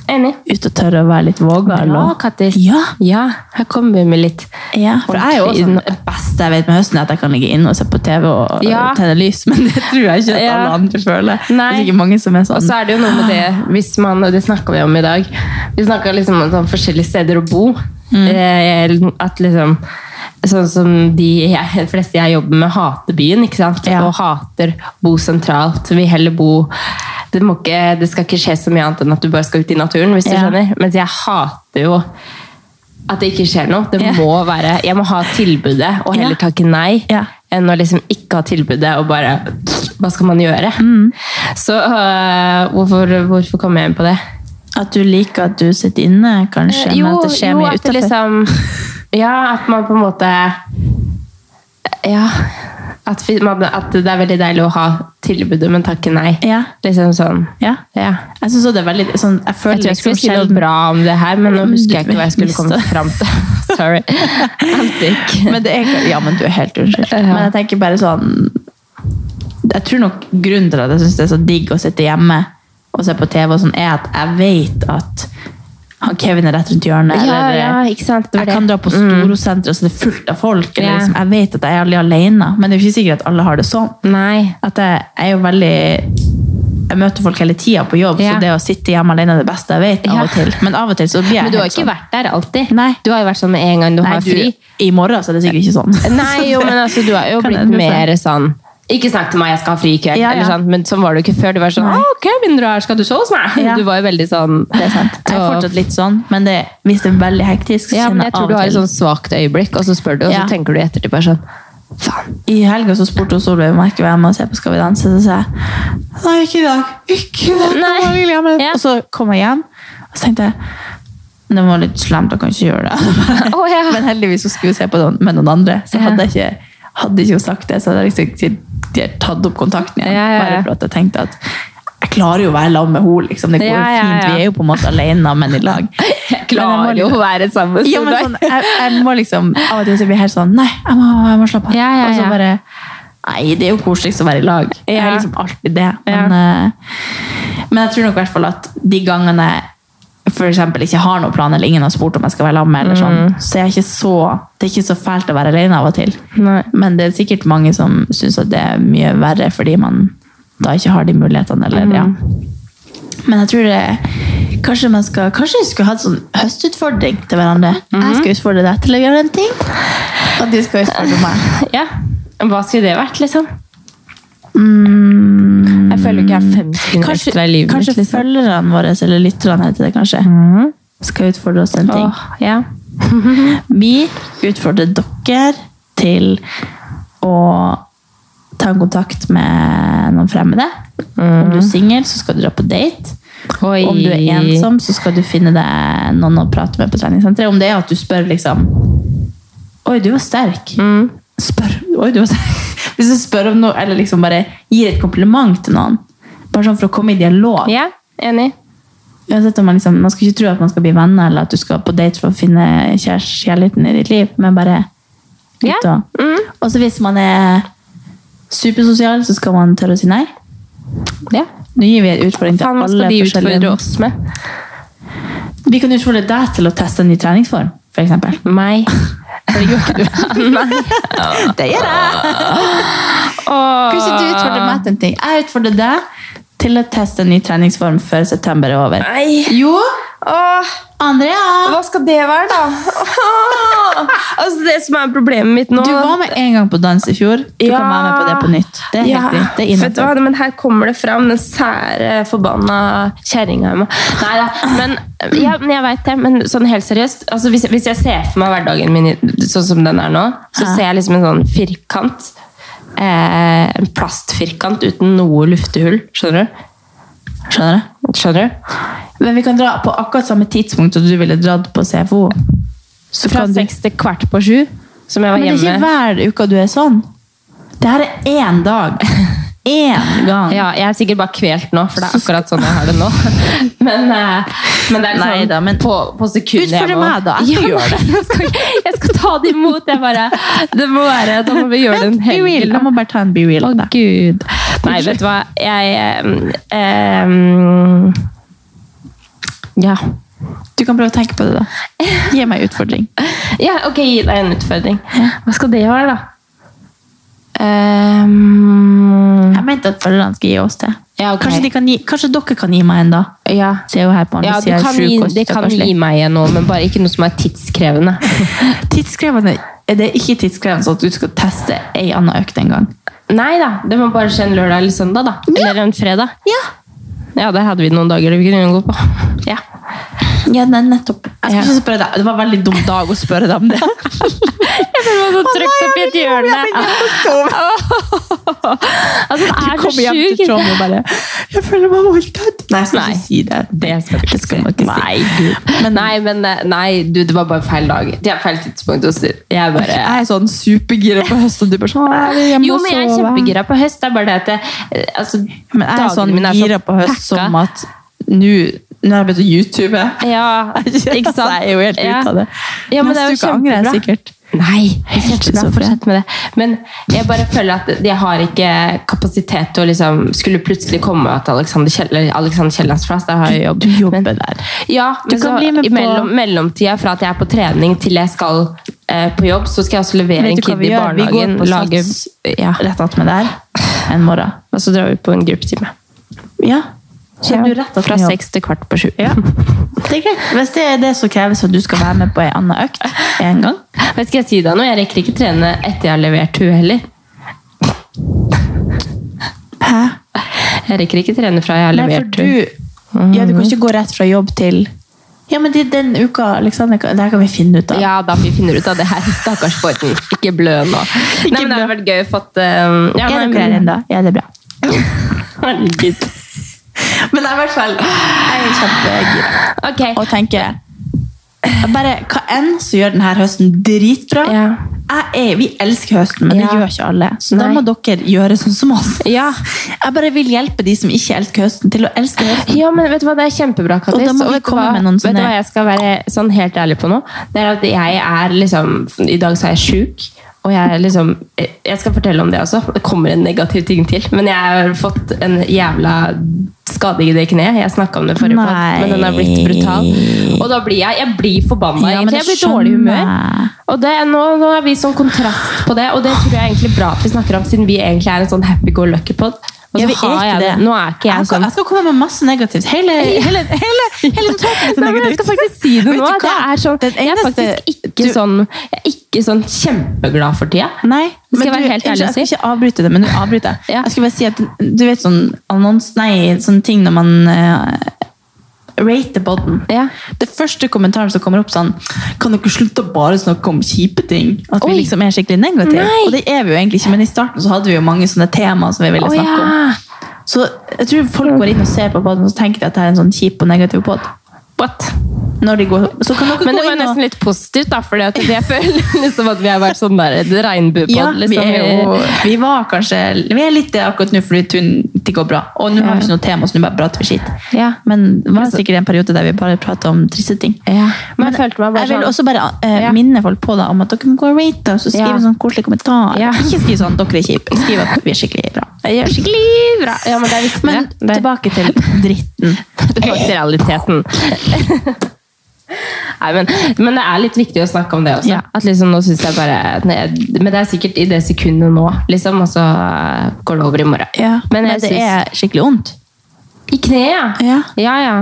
Speaker 1: Enig.
Speaker 2: ut og tørre å være litt vågal.
Speaker 1: Bra,
Speaker 2: og-
Speaker 1: Kattis.
Speaker 2: Ja.
Speaker 1: Ja, her kommer vi med litt
Speaker 2: Ja, for jeg er jo også sånn, det beste jeg vet med høsten, er at jeg kan ligge inne og se på TV og
Speaker 1: Ja.
Speaker 2: og tenne lys, men det tror jeg ikke at
Speaker 1: Ja.
Speaker 2: alle andre føler.
Speaker 1: Nei.
Speaker 2: Det er sikkert mange som er sånn.
Speaker 1: Og så er det jo noe med det hvis man, og Det snakka vi om i dag. Vi snakka liksom om sånn forskjellige steder å bo.
Speaker 2: Mm.
Speaker 1: Eh, At liksom Sånn som de jeg, de fleste jeg jobber med, hater byen. ikke sant?
Speaker 2: Ja.
Speaker 1: Og hater bo sentralt. Vil heller bo det, må ikke, det skal ikke skje så mye annet enn at du bare skal ut i naturen. hvis du
Speaker 2: Ja.
Speaker 1: skjønner. Mens jeg hater jo at det ikke skjer noe. Det
Speaker 2: Ja.
Speaker 1: må være, Jeg må ha tilbudet, og heller
Speaker 2: Ja.
Speaker 1: takke nei
Speaker 2: Ja.
Speaker 1: enn å liksom ikke ha tilbudet og bare Hva skal man gjøre? Så øh, hvorfor, hvorfor kom jeg inn på det?
Speaker 2: At du liker at du sitter inne, kanskje,
Speaker 1: Eh, jo,
Speaker 2: men at det skjer
Speaker 1: jo,
Speaker 2: mye
Speaker 1: at det
Speaker 2: utenfor.
Speaker 1: liksom Ja, at man på en måte Ja. At, vi- man, at det er veldig deilig å ha tilbudet, men takke nei.
Speaker 2: Ja,
Speaker 1: Liksom sånn.
Speaker 2: ja.
Speaker 1: Ja.
Speaker 2: Jeg synes også det er veldig sånn, Jeg
Speaker 1: Jeg
Speaker 2: føler
Speaker 1: tror jeg skulle si noe bra om det her, men nå husker jeg ikke hva jeg skulle komme fram til. Sorry. I'm sick.
Speaker 2: men det er, Ja, men du er helt unnskyld.
Speaker 1: Ja.
Speaker 2: Men jeg tenker bare sånn Jeg tror nok grunnen til at jeg syns det er så digg å sitte hjemme og se på TV, og sånn, er at jeg vet at han Kevin er rett rundt hjørnet.
Speaker 1: Ja,
Speaker 2: eller,
Speaker 1: ja, ikke sant. Det var
Speaker 2: jeg
Speaker 1: det.
Speaker 2: kan dra på Storosenteret, så det er fullt av folk. Eller,
Speaker 1: Ja.
Speaker 2: liksom, jeg vet at jeg er aldri alene, men det er jo ikke sikkert at alle har det sånn.
Speaker 1: Nei.
Speaker 2: at jeg, jeg er jo veldig jeg møter folk hele tida på jobb,
Speaker 1: Ja.
Speaker 2: så det å sitte hjemme alene er det beste jeg vet. av
Speaker 1: Ja.
Speaker 2: og til. Men av og til så blir jeg
Speaker 1: Men du har
Speaker 2: helt
Speaker 1: ikke
Speaker 2: sånn.
Speaker 1: vært der alltid.
Speaker 2: Nei.
Speaker 1: Du har jo vært sånn med en gang du
Speaker 2: Nei,
Speaker 1: har fri.
Speaker 2: du, I morgen så er det sikkert ikke sånn.
Speaker 1: Nei, jo, men altså, du har jo
Speaker 2: Kan
Speaker 1: blitt
Speaker 2: endre seg.
Speaker 1: mer sånn Ikke snakk til meg, jeg skal ha fri i kveld.
Speaker 2: Ja, ja.
Speaker 1: Eller sånn, men sånn var du ikke før. Du var sånn
Speaker 2: Nei.
Speaker 1: Å, ok, begynner du her, skal du sove hos meg?
Speaker 2: Ja.
Speaker 1: Du var jo veldig sånn
Speaker 2: Det er sant. Jeg er
Speaker 1: Så-
Speaker 2: fortsatt litt sånn, men det, hvis det er veldig hektisk, så
Speaker 1: Ja, men
Speaker 2: kjenner
Speaker 1: jeg
Speaker 2: jeg
Speaker 1: tror
Speaker 2: av
Speaker 1: du har
Speaker 2: og
Speaker 1: et
Speaker 2: til
Speaker 1: sånn svakt øyeblikk, og så spør du, og
Speaker 2: Ja.
Speaker 1: så tenker du i ettertid bare sånn Faen.
Speaker 2: I helga så spurte hun Solveig om jeg skulle være med og se på Skal vi danse. Så sa jeg nei, ikke i dag. Ikke i dag.
Speaker 1: Nei.
Speaker 2: nå vil jeg med».
Speaker 1: Ja.
Speaker 2: Og så kom jeg hjem, og så tenkte jeg det var litt slemt, jeg kan ikke gjøre det.
Speaker 1: Å, ja.
Speaker 2: Men heldigvis så skulle vi se på det med noen andre. Så
Speaker 1: Ja.
Speaker 2: hadde jeg ikke, hadde ikke hun sagt det, så hadde jeg liksom ikke aktivt tatt opp kontakten igjen.
Speaker 1: Ja, ja, ja.
Speaker 2: Bare for at jeg tenkte at jeg klarer jo å være sammen med henne. Liksom. Det går jo
Speaker 1: Ja, ja,
Speaker 2: fint.
Speaker 1: ja.
Speaker 2: Vi er jo på en måte alene, men i lag.
Speaker 1: Jeg klarer
Speaker 2: Men jeg
Speaker 1: jo
Speaker 2: må-
Speaker 1: å være sammen med
Speaker 2: Ja, men
Speaker 1: deg.
Speaker 2: sånn, jeg, jeg må liksom Av og til så blir jeg helt sånn Nei, jeg må, jeg må slappe av.
Speaker 1: Ja, ja,
Speaker 2: Og
Speaker 1: ja.
Speaker 2: så bare Nei, det er jo koseligst å være i lag. Jeg er
Speaker 1: Ja.
Speaker 2: liksom alltid det. Men, eh, men jeg tror nok i hvert fall at de gangene jeg for eksempel ikke har noen plan, eller ingen har spurt om jeg skal være sammen
Speaker 1: Mm.
Speaker 2: med, eller sånn, så, er jeg ikke så det er ikke så fælt å være alene av og til.
Speaker 1: Nei.
Speaker 2: Men det er sikkert mange som syns at det er mye verre fordi man da ikke har de mulighetene, eller ja. Men jeg tror det Kanskje man skal, kanskje vi skulle hatt sånn høstutfordring til hverandre. Jeg skal utfordre deg til å gjøre en ting, Mhm. og du skal utfordre meg.
Speaker 1: Ja. Hva skulle det vært, liksom? Jeg føler ikke jeg har fem sekunder
Speaker 2: Mm. Eh, Kanskje,
Speaker 1: ekstra i livet
Speaker 2: kanskje
Speaker 1: mitt. Liksom.
Speaker 2: følgerne våre, eller lytterne heter det kanskje, skal utfordre oss til en ting.
Speaker 1: Åh, ja.
Speaker 2: Vi utfordrer dere til å ta en kontakt med noen fremmede. Om du er singel, så skal du dra på date.
Speaker 1: Oi.
Speaker 2: Om du er ensom, så skal du finne deg noen å prate med på treningssenteret. Om det er at du spør liksom Oi, du var sterk.
Speaker 1: Mm.
Speaker 2: Spør. Oi, du var sterk. Hvis du spør om noe, eller liksom bare gir et kompliment til noen. Bare sånn for å komme i dialog.
Speaker 1: Ja, enig.
Speaker 2: Uansett om man, liksom, man skal ikke tro at man skal bli venner, eller at du skal på date for å finne kjæres- kjærligheten i ditt liv, men bare ut
Speaker 1: Ja. Mm.
Speaker 2: og Og så hvis man er supersosial, så skal man tørre å si nei.
Speaker 1: Ja.
Speaker 2: Nå gir vi en utfordring til
Speaker 1: Faen, hva
Speaker 2: alle
Speaker 1: skal de utfordre
Speaker 2: forskjellige
Speaker 1: oss med?
Speaker 2: Vi kan utfordre deg til å teste en ny treningsform, for eksempel.
Speaker 1: Meg.
Speaker 2: Det gjør ikke du. Det gjør jeg. Kanskje du
Speaker 1: Ah.
Speaker 2: utfordrer meg til en ting. Jeg utfordrer deg til å teste en ny treningsform før september er over.
Speaker 1: Nei.
Speaker 2: Jo,
Speaker 1: Åh,
Speaker 2: Andrea!
Speaker 1: hva skal det være, da? Åh. altså, det som er problemet mitt nå
Speaker 2: Du var med en gang på dans i fjor. Du kan være med på det på nytt. Det er helt riktig. Det er
Speaker 1: vet du hva?
Speaker 2: innenfor.
Speaker 1: Men her kommer det fram, den sære, forbanna kjerringa i meg. Neida, men, ja, men jeg vet det. Men sånn helt seriøst, altså, hvis, jeg- hvis jeg ser for meg hverdagen min i- sånn som den er nå, så
Speaker 2: Ja.
Speaker 1: ser jeg liksom en sånn firkant. Eh, en plastfirkant uten noe luftehull. Skjønner
Speaker 2: Skjønner du?
Speaker 1: du? Skjønner du?
Speaker 2: Men vi kan dra på akkurat samme tidspunkt som du ville dratt på CFO. Så
Speaker 1: Fra
Speaker 2: kan du...
Speaker 1: seks til kvart på sju, som jeg var
Speaker 2: Men det er ikke
Speaker 1: hjemme.
Speaker 2: hver uke du er sånn. Det her er én dag. Én gang.
Speaker 1: Ja, jeg er sikkert bare kvelt nå, for det er akkurat sånn jeg har det nå. Men, eh, men det er liksom
Speaker 2: Neida, men-
Speaker 1: på, på sekundet jeg
Speaker 2: Utfordre
Speaker 1: må-
Speaker 2: meg, da. Jeg
Speaker 1: Ja,
Speaker 2: skal gjøre det.
Speaker 1: Jeg skal, jeg skal ta det imot. Jeg bare, det må være, da må vi gjøre det en
Speaker 2: Be real. Oh
Speaker 1: helg.
Speaker 2: La
Speaker 1: da.
Speaker 2: meg bare ta en be real.
Speaker 1: Å,
Speaker 2: av deg.
Speaker 1: Gud. Nei, vet du hva. Jeg eh, em, Ja.
Speaker 2: Du kan prøve å tenke på det, da. Gi meg en utfordring.
Speaker 1: Ja, ok, gi deg en utfordring. Hva skal det være, da? Em,
Speaker 2: Jeg mente at følgerne skal gi oss det.
Speaker 1: ja, ok.
Speaker 2: Kanskje, de kan gi, kanskje dere kan gi meg en, da.
Speaker 1: ja.
Speaker 2: Se jo her på han,
Speaker 1: Ja,
Speaker 2: hvis
Speaker 1: du
Speaker 2: jeg er
Speaker 1: kan
Speaker 2: sjuk
Speaker 1: gi,
Speaker 2: og
Speaker 1: det kan
Speaker 2: stakkarslig.
Speaker 1: gi meg en nå, men bare ikke noe som er tidskrevende.
Speaker 2: Tidskrevende er det ikke tidskrevende sånn at du skal teste ei anna økt en gang.
Speaker 1: Nei da, det må bare skje en lørdag eller søndag, da. Eller en fredag.
Speaker 2: Ja.
Speaker 1: Ja, der hadde vi noen dager vi kunne gå på. Ja.
Speaker 2: ja, nei, nettopp. Jeg skal
Speaker 1: Ja.
Speaker 2: ikke spørre deg. Det var en veldig dum dag å spørre deg om det.
Speaker 1: Jeg føler meg så trykt opp i et hjørne. Altså, det er så
Speaker 2: Kom hjem til
Speaker 1: sjukt.
Speaker 2: Trond og bare Jeg føler meg voldtatt. Nei, jeg skal
Speaker 1: Nei.
Speaker 2: ikke si det.
Speaker 1: Det skal du ikke
Speaker 2: man ikke si.
Speaker 1: Nei, Gud. Men, nei, men eh, nei, du, det var bare feil dag. Det er feil tidspunkt. å si. Jeg bare...
Speaker 2: Jeg er sånn supergira på høst, og du bare sånn «Å, jeg vil hjem
Speaker 1: Jo,
Speaker 2: og
Speaker 1: men jeg er
Speaker 2: sove».
Speaker 1: kjempegira på høst. Det er bare det at jeg, eh, altså,
Speaker 2: Men jeg er sånn
Speaker 1: dagene mine er så
Speaker 2: gira på høst
Speaker 1: packa.
Speaker 2: som at nå nå har jeg begynt å youtube.
Speaker 1: Ja, ikke sant?
Speaker 2: Altså, jeg er jo helt
Speaker 1: Ja.
Speaker 2: ute av det.
Speaker 1: Ja, men det
Speaker 2: Neste
Speaker 1: er jo
Speaker 2: uke angrer jeg
Speaker 1: kjempebra.
Speaker 2: sikkert.
Speaker 1: Nei, helt
Speaker 2: så bra.
Speaker 1: fortsett med det. Men jeg bare føler at jeg har ikke kapasitet til å liksom skulle plutselig komme til Alexander, Kjell, eller Alexander Kiellands plass. Der har jeg jobb.
Speaker 2: Du jobber
Speaker 1: men,
Speaker 2: der.
Speaker 1: Ja, men
Speaker 2: kan
Speaker 1: så
Speaker 2: bli med
Speaker 1: i
Speaker 2: på-
Speaker 1: mellom, mellomtida fra at jeg er på trening til jeg skal eh, på jobb, så skal jeg også levere
Speaker 2: Vet
Speaker 1: en
Speaker 2: du hva
Speaker 1: kid
Speaker 2: vi
Speaker 1: i
Speaker 2: gjør? Vi går
Speaker 1: barnehagen.
Speaker 2: på
Speaker 1: lage-
Speaker 2: Sats
Speaker 1: ja.
Speaker 2: rett attmed der en morgen.
Speaker 1: Og så drar vi på en gruppetime.
Speaker 2: Ja. Så er du rett
Speaker 1: Fra
Speaker 2: attmed jobb.
Speaker 1: seks til kvart på sju.
Speaker 2: Det er greit. Hvis det er det som kreves at du skal være med på ei anna økt en gang
Speaker 1: Men skal jeg si deg noe? Jeg rekker ikke trene etter jeg har levert hun heller.
Speaker 2: Hæ?
Speaker 1: Jeg rekker ikke trene fra jeg har
Speaker 2: Nei, for
Speaker 1: levert hun.
Speaker 2: du Ja, du kan ikke gå rett fra jobb til Ja, men det er den uka, Alexander, det her kan vi finne ut av.
Speaker 1: Ja, da vi finner ut av det her. Stakkars Borten. Ikke blø nå. Nei, men Det hadde vært gøy å fått eh, ja,
Speaker 2: er
Speaker 1: nei,
Speaker 2: dere her
Speaker 1: men-
Speaker 2: ennå? Ja, det er bra.
Speaker 1: Herregud.
Speaker 2: Men jeg er i hvert fall jeg er kjempegira
Speaker 1: Ok.
Speaker 2: og tenker bare hva enn, så gjør denne høsten dritbra.
Speaker 1: Ja.
Speaker 2: jeg er, vi elsker høsten, men det
Speaker 1: Ja.
Speaker 2: gjør ikke alle. Så da
Speaker 1: Nei.
Speaker 2: må dere gjøre sånn som oss.
Speaker 1: Ja.
Speaker 2: Jeg bare vil hjelpe de som ikke elsker høsten, til å elske høsten.
Speaker 1: Ja, men vet du hva, det er kjempebra, Kattis.
Speaker 2: Og da må vi
Speaker 1: vet du
Speaker 2: komme
Speaker 1: hva-
Speaker 2: med noen
Speaker 1: Vet du
Speaker 2: sånne-
Speaker 1: hva jeg skal være sånn helt ærlig på nå? Det er at jeg er liksom I dag så er jeg sjuk. Og jeg er liksom Jeg skal fortelle om det også. Det kommer en negativ ting til. Men jeg har fått en jævla skade i det kneet. Jeg snakka om det forrige gang, men den har blitt brutal. Og da blir jeg Jeg blir forbanna,
Speaker 2: Ja, men
Speaker 1: egentlig.
Speaker 2: sånn det
Speaker 1: Jeg blir i dårlig
Speaker 2: skjønner
Speaker 1: humør.
Speaker 2: jeg.
Speaker 1: Og det, er- nå, nå er vi sånn kontrast på det, og det tror jeg er egentlig bra at vi snakker om, siden vi egentlig er en sånn happy-go-lucky-pod. Og
Speaker 2: Ja,
Speaker 1: så
Speaker 2: vi er
Speaker 1: har
Speaker 2: ikke
Speaker 1: jeg det.
Speaker 2: det. Altså,
Speaker 1: Nå er ikke jeg
Speaker 2: Jeg,
Speaker 1: sånn
Speaker 2: jeg skal komme med masse negativt. Hele, hele, hele, hele notatet mitt er
Speaker 1: Nei, men jeg
Speaker 2: negativt.
Speaker 1: skal faktisk si det
Speaker 2: Vet
Speaker 1: nå.
Speaker 2: du
Speaker 1: at
Speaker 2: hva?
Speaker 1: Jeg er, sånn,
Speaker 2: Den
Speaker 1: jeg er
Speaker 2: eneste-
Speaker 1: faktisk ikke, sånn, jeg er ikke sånn kjempeglad for tida.
Speaker 2: Nei,
Speaker 1: Skal
Speaker 2: men
Speaker 1: jeg være
Speaker 2: du-
Speaker 1: helt ærlig
Speaker 2: unnskyld,
Speaker 1: og si?
Speaker 2: Jeg skal ikke avbryte det, men du avbryter. jeg.
Speaker 1: Ja.
Speaker 2: Jeg skal bare si at du vet sånn annons, nei, sånne ting når man uh, rater podden.
Speaker 1: Ja.
Speaker 2: Det første kommentaren som kommer opp sånn, kan dere slutte å bare snakke om kjipe ting? At
Speaker 1: Oi.
Speaker 2: vi liksom er skikkelig negative.
Speaker 1: Nei.
Speaker 2: Og det er vi jo egentlig ikke, men i starten så hadde vi jo mange sånne temaer som vi ville
Speaker 1: Å,
Speaker 2: snakke om.
Speaker 1: ja.
Speaker 2: Så jeg tror folk går inn og ser på podden og så tenker de at det er en sånn kjip og negativ podd.
Speaker 1: What?
Speaker 2: Når de går, så kan dere
Speaker 1: Men det
Speaker 2: gå
Speaker 1: var
Speaker 2: inn og...
Speaker 1: nesten litt positivt, da, for jeg føler liksom at vi har vært sånn der regnbuepod.
Speaker 2: Ja, vi,
Speaker 1: liksom.
Speaker 2: er jo, vi var kanskje Vi er litt det akkurat nå, fordi tun- det går bra. Og nå har vi ikke noe tema, så nå bare prater vi skitt.
Speaker 1: Ja.
Speaker 2: Men det var sikkert en periode der vi bare pratet om triste ting.
Speaker 1: Ja. Men jeg følte meg bare
Speaker 2: jeg vil
Speaker 1: sånn-
Speaker 2: også bare eh,
Speaker 1: Ja.
Speaker 2: minne folk på da, om at dere må gå og rate oss og skrive
Speaker 1: Ja.
Speaker 2: en sånn koselig kommentar.
Speaker 1: Ja.
Speaker 2: Ikke skriv sånn 'dere er kjipe'. Skriv at vi er skikkelig bra.
Speaker 1: Ja, Skikkelig bra! Ja, men det er viktig.
Speaker 2: Men
Speaker 1: det. det.
Speaker 2: tilbake til dritten.
Speaker 1: tilbake til realiteten. Nei, men, men det er litt viktig å snakke om det også.
Speaker 2: Ja.
Speaker 1: At liksom nå synes jeg bare Men det er sikkert i det sekundet nå, liksom, og så går det over i morgen.
Speaker 2: Men,
Speaker 1: Men jeg
Speaker 2: det
Speaker 1: synes-
Speaker 2: er skikkelig vondt.
Speaker 1: I kneet,
Speaker 2: Ja.
Speaker 1: ja. ja.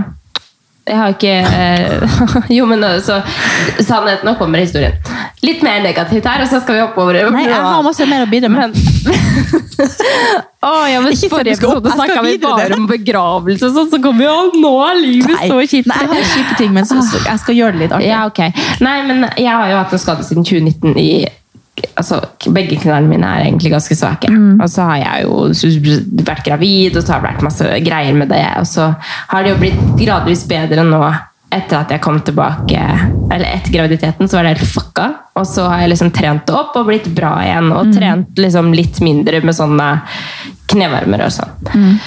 Speaker 1: Jeg har ikke eh, Jo, men så Sannheten, nå kommer historien. Litt mer negativt her, og så skal vi hoppe over.
Speaker 2: Nei, jeg har masse mer å bidra med.
Speaker 1: Men- Å, ja, men
Speaker 2: Ikke
Speaker 1: Forrige
Speaker 2: for at vi skal opp-
Speaker 1: episode
Speaker 2: jeg skal
Speaker 1: snakka vi
Speaker 2: videre,
Speaker 1: bare
Speaker 2: dere.
Speaker 1: om begravelse og sånn, så kom vi jo Nå er livet
Speaker 2: Nei,
Speaker 1: så kjipt!
Speaker 2: Nei, jeg har kjipe ting, men så, så, jeg skal gjøre det litt artig.
Speaker 1: Ja, ok. Nei, men jeg har jo hatt en skade siden 2019 i Altså, begge knærne mine er egentlig ganske svake.
Speaker 2: Mm.
Speaker 1: Og så har jeg jo s- vært gravid, og så har det vært masse greier med det. Og så har det jo blitt gradvis bedre nå etter at jeg kom tilbake Eller etter graviditeten, så var det helt fucka. Og så har jeg liksom trent det opp og blitt bra igjen.
Speaker 2: Mm.
Speaker 1: Og trent liksom litt mindre med sånne knevarmer og sånn.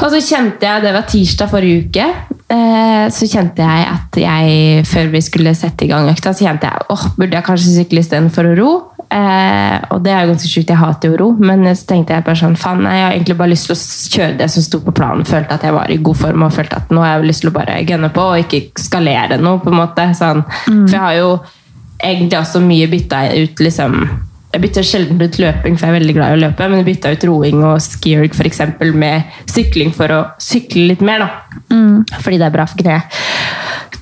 Speaker 1: Og så kjente jeg, det var tirsdag forrige uke, eh, så kjente jeg at jeg, før vi skulle sette i gang økta, så kjente jeg, åh, burde jeg kanskje sykle i stedet for å ro? Eh, og det er jo ganske sykt, jeg hater jo å ro, men så tenkte jeg bare sånn, faen, nei, jeg har egentlig bare lyst til å kjøre det som sto på planen, følte at jeg var i god form, og følte at nå har jeg lyst til å bare gønne på, og ikke skalere noe, på en måte, sånn. For jeg har jo egentlig også mye bytta ut, liksom, jeg bytter sjelden ut løping, for jeg er veldig glad i å løpe, men jeg bytta ut roing og skierg for eksempel med sykling for å sykle litt mer, da. Mm, Fordi det er bra for kneet.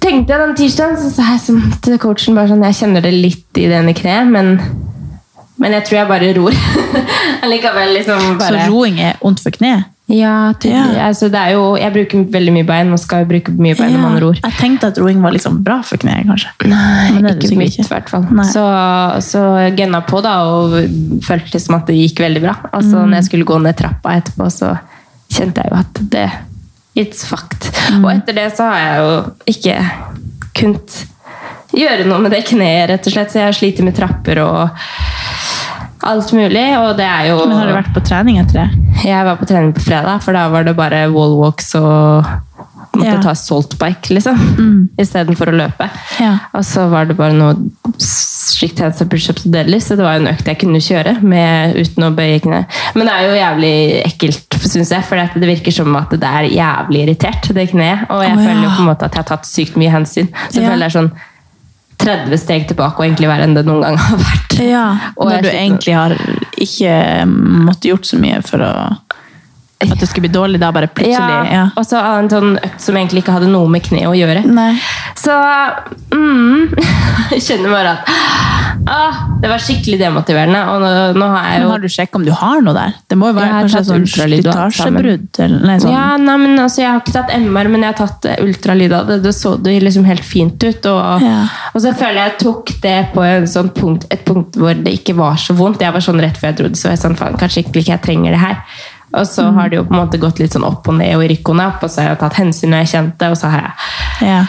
Speaker 1: Tenkte jeg den tirsdagen, så sa jeg sånn til coachen bare sånn, jeg kjenner det litt i det ene kneet, men, men jeg tror jeg bare ror. Allikevel liksom bare...
Speaker 2: Så roing er vondt for kneet?
Speaker 1: Ja, til,
Speaker 2: Ja.
Speaker 1: Altså, det er jo, jeg bruker veldig mye bein, og skal jo bruke mye bein når man ror.
Speaker 2: Jeg tenkte at roing var liksom bra for kneet, kanskje.
Speaker 1: Nei,
Speaker 2: Men det er det
Speaker 1: ikke
Speaker 2: sikkert
Speaker 1: mitt
Speaker 2: ikke.
Speaker 1: i hvert fall.
Speaker 2: Nei.
Speaker 1: Så, så gønna på da, og følte liksom at det gikk veldig bra. Og så når jeg
Speaker 2: Mm.
Speaker 1: skulle gå ned trappa etterpå, så kjente jeg jo at det It's fucked.
Speaker 2: Mm.
Speaker 1: Og etter det så har jeg jo ikke kunnet gjøre noe med det kneet, rett og slett. Så jeg sliter med trapper og alt mulig, og det er jo
Speaker 2: Men har du vært på trening etter det?
Speaker 1: jeg var på trening på fredag, for da var det bare wallwalks og måtte
Speaker 2: Ja. Mm.
Speaker 1: ta saltbike, liksom. Istedenfor å løpe.
Speaker 2: Ja.
Speaker 1: Og så var det bare noe strict hands and pushups og deadlifts, så det var jo en økt jeg kunne kjøre med, uten å bøye kne. Men det er jo jævlig ekkelt, syns jeg, for det virker som at det er jævlig irritert, det kneet. Og jeg
Speaker 2: Å, ja.
Speaker 1: føler jo på en måte at jeg har tatt sykt mye hensyn. Så jeg
Speaker 2: Ja.
Speaker 1: føler det er sånn 30 steg tilbake og egentlig verre enn det noen gang har vært. Og jeg
Speaker 2: Når du
Speaker 1: sliter-
Speaker 2: egentlig har ikke måttet gjort så mye for å at det skulle bli dårlig, da bare plutselig ja.
Speaker 1: Ja, og så en sånn økt som egentlig ikke hadde noe med kne å gjøre.
Speaker 2: Nei.
Speaker 1: Så mm, Jeg kjenner bare at ah, det var skikkelig demotiverende. Og nå, nå har jeg
Speaker 2: Men
Speaker 1: jo
Speaker 2: har du sjekka om du har noe der? Det må jo
Speaker 1: Jeg
Speaker 2: være
Speaker 1: har
Speaker 2: kanskje
Speaker 1: tatt
Speaker 2: sånn
Speaker 1: ultralyd og alt sammen.
Speaker 2: slitasjebrudd? eller- Nei, sånn.
Speaker 1: Ja, nei, men altså, Jeg har ikke tatt MR, men jeg har tatt eh, ultralyd av det. Det så det liksom helt fint ut. Og,
Speaker 2: Ja.
Speaker 1: og så føler jeg jeg tok det på en sånn punkt, et punkt hvor det ikke var så vondt. Jeg var sånn Rett før jeg dro det, så var jeg sånn, faen, kanskje ikke jeg trenger det her. Og så
Speaker 2: Mm.
Speaker 1: har det jo på en måte gått litt sånn opp og ned og rykk og napp, og så har jeg tatt hensyn når jeg kjente, og så har jeg
Speaker 2: Ja.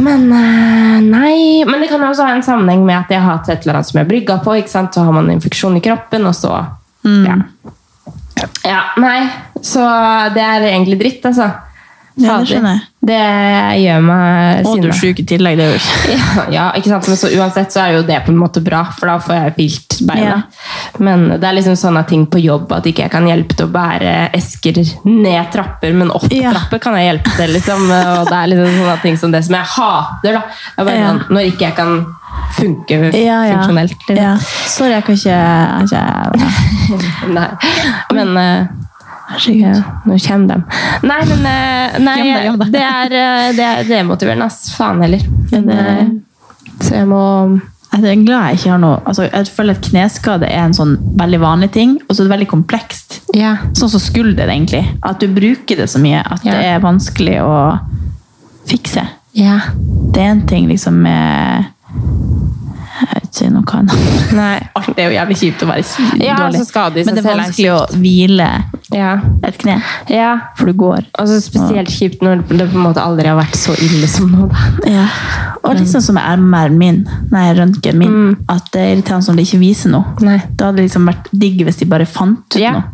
Speaker 1: men eh, nei Men det kan også ha en sammenheng med at jeg har hatt et eller annet som jeg brygga på. ikke sant? Så har man en infeksjon i kroppen, og så
Speaker 2: Mm.
Speaker 1: ja. ja. Nei, så det er egentlig dritt, altså.
Speaker 2: Ja, det
Speaker 1: Fader.
Speaker 2: skjønner jeg.
Speaker 1: Det gjør meg
Speaker 2: Og du er
Speaker 1: sinna.
Speaker 2: syk i tillegg. det er jo ikke-
Speaker 1: Ja, ja, ikke sant? Men så uansett så er jo det på en måte bra, for da får jeg hvilt beina. Men det er liksom sånne ting på jobb at ikke jeg kan hjelpe til å bære esker ned trapper, men opp
Speaker 2: Ja.
Speaker 1: trapper kan jeg hjelpe til, liksom. Og det er liksom sånne ting som det som jeg hater, da. Det er bare
Speaker 2: Ja.
Speaker 1: sånn, når ikke jeg kan funke
Speaker 2: Ja, ja.
Speaker 1: funksjonelt. Liksom.
Speaker 2: Ja. Sorry, jeg kan ikke, jeg kan ikke
Speaker 1: Nei. Men eh, ja, nå kommer de. Nei, men eh, nei,
Speaker 2: Gjem deg, gjem deg.
Speaker 1: Det, er, eh, det er demotiverende, ass. Faen heller. Men, eh, så jeg må
Speaker 2: Jeg er glad jeg ikke har noe altså, Jeg føler at kneskade er en sånn veldig vanlig ting, og så er det veldig komplekst.
Speaker 1: Ja.
Speaker 2: Sånn som skulder, egentlig. At du bruker det så mye at
Speaker 1: Ja.
Speaker 2: det er vanskelig å fikse.
Speaker 1: ja.
Speaker 2: Det er en ting liksom med Jeg vet ikke noe annet.
Speaker 1: Nei.
Speaker 2: Alt er jo jævlig kjipt å være sy-
Speaker 1: Ja,
Speaker 2: dårlig.
Speaker 1: altså, skade i
Speaker 2: Men
Speaker 1: seg
Speaker 2: det er
Speaker 1: selv er
Speaker 2: vanskelig å hvile
Speaker 1: Ja.
Speaker 2: et kne,
Speaker 1: ja.
Speaker 2: for du går.
Speaker 1: Og så spesielt kjipt når det på en måte aldri har vært så ille som nå. Da.
Speaker 2: Ja. Og liksom som er MR-en min, nei, røntgen min,
Speaker 1: Mm.
Speaker 2: at det er irriterende som det ikke viser noe.
Speaker 1: Nei.
Speaker 2: Det hadde liksom vært digg hvis de bare fant ut
Speaker 1: Ja.
Speaker 2: noe.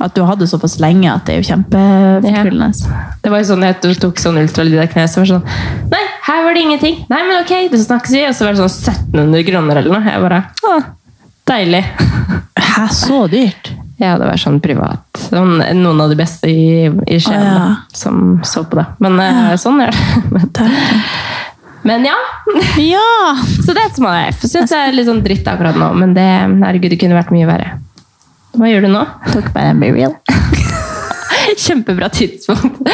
Speaker 2: At du hadde det såpass lenge at det er jo kjempefortryllende.
Speaker 1: Det var jo sånn jeg tok sånn ultralyd av kneet, så var det sånn Nei, her var det ingenting. Nei, men ok, det snakkes vi. Og så var det sånn 1700 kroner eller noe. Jeg bare Å, deilig.
Speaker 2: Hæ, så dyrt?
Speaker 1: Ja, det var sånn privat. Sånn, noen av de beste i, i Skien
Speaker 2: Å, ja.
Speaker 1: da, som så på det. Men eh, sånn er det. Men, men ja.
Speaker 2: Ja!
Speaker 1: Så that's my life. Syns jeg er litt sånn dritt akkurat nå, men det, herregud, det kunne vært mye verre. Hva gjør du nå?
Speaker 2: Tok bare en be real.
Speaker 1: Kjempebra tidspunkt.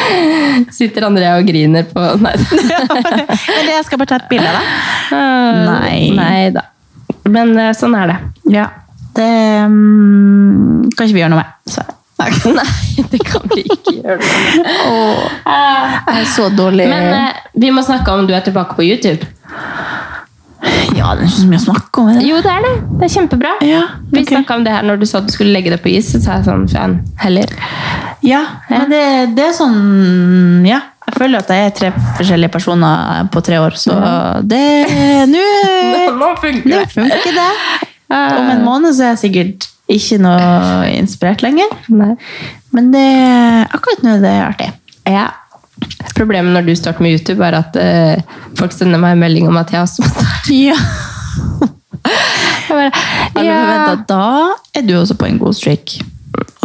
Speaker 1: Sitter Andrea og griner på Nei.
Speaker 2: Men jeg skal bare ta et bilde av deg. Nei.
Speaker 1: Nei da. Eh, Men eh, sånn er det.
Speaker 2: Ja. Det mm, kan ikke vi gjøre noe med. Så.
Speaker 1: Nei, det kan vi ikke gjøre noe med. Eh,
Speaker 2: Jeg er så dårlig.
Speaker 1: Men eh, vi må snakke om du er tilbake på YouTube.
Speaker 2: ja, det er ikke så mye å snakke om. er det?
Speaker 1: Jo, det er det. Det er kjempebra.
Speaker 2: Ja,
Speaker 1: Vi
Speaker 2: ok.
Speaker 1: snakka om det her når du sa at du skulle legge det på is. Så sa jeg sånn faen, heller.
Speaker 2: Ja, men det, det er sånn Ja. Jeg føler at jeg er tre forskjellige personer på tre år, så det Nå
Speaker 1: Eh, Nå funker
Speaker 2: nå funker det. Om en måned så er jeg sikkert ikke noe inspirert lenger.
Speaker 1: Nei.
Speaker 2: Men det, akkurat nå er det artig.
Speaker 1: Ja. Problemet når du starter med YouTube, er at eh, folk sender meg en melding om at jeg også må starte.
Speaker 2: Ja.
Speaker 1: Jeg bare,
Speaker 2: forventet, da er du også på en god streak.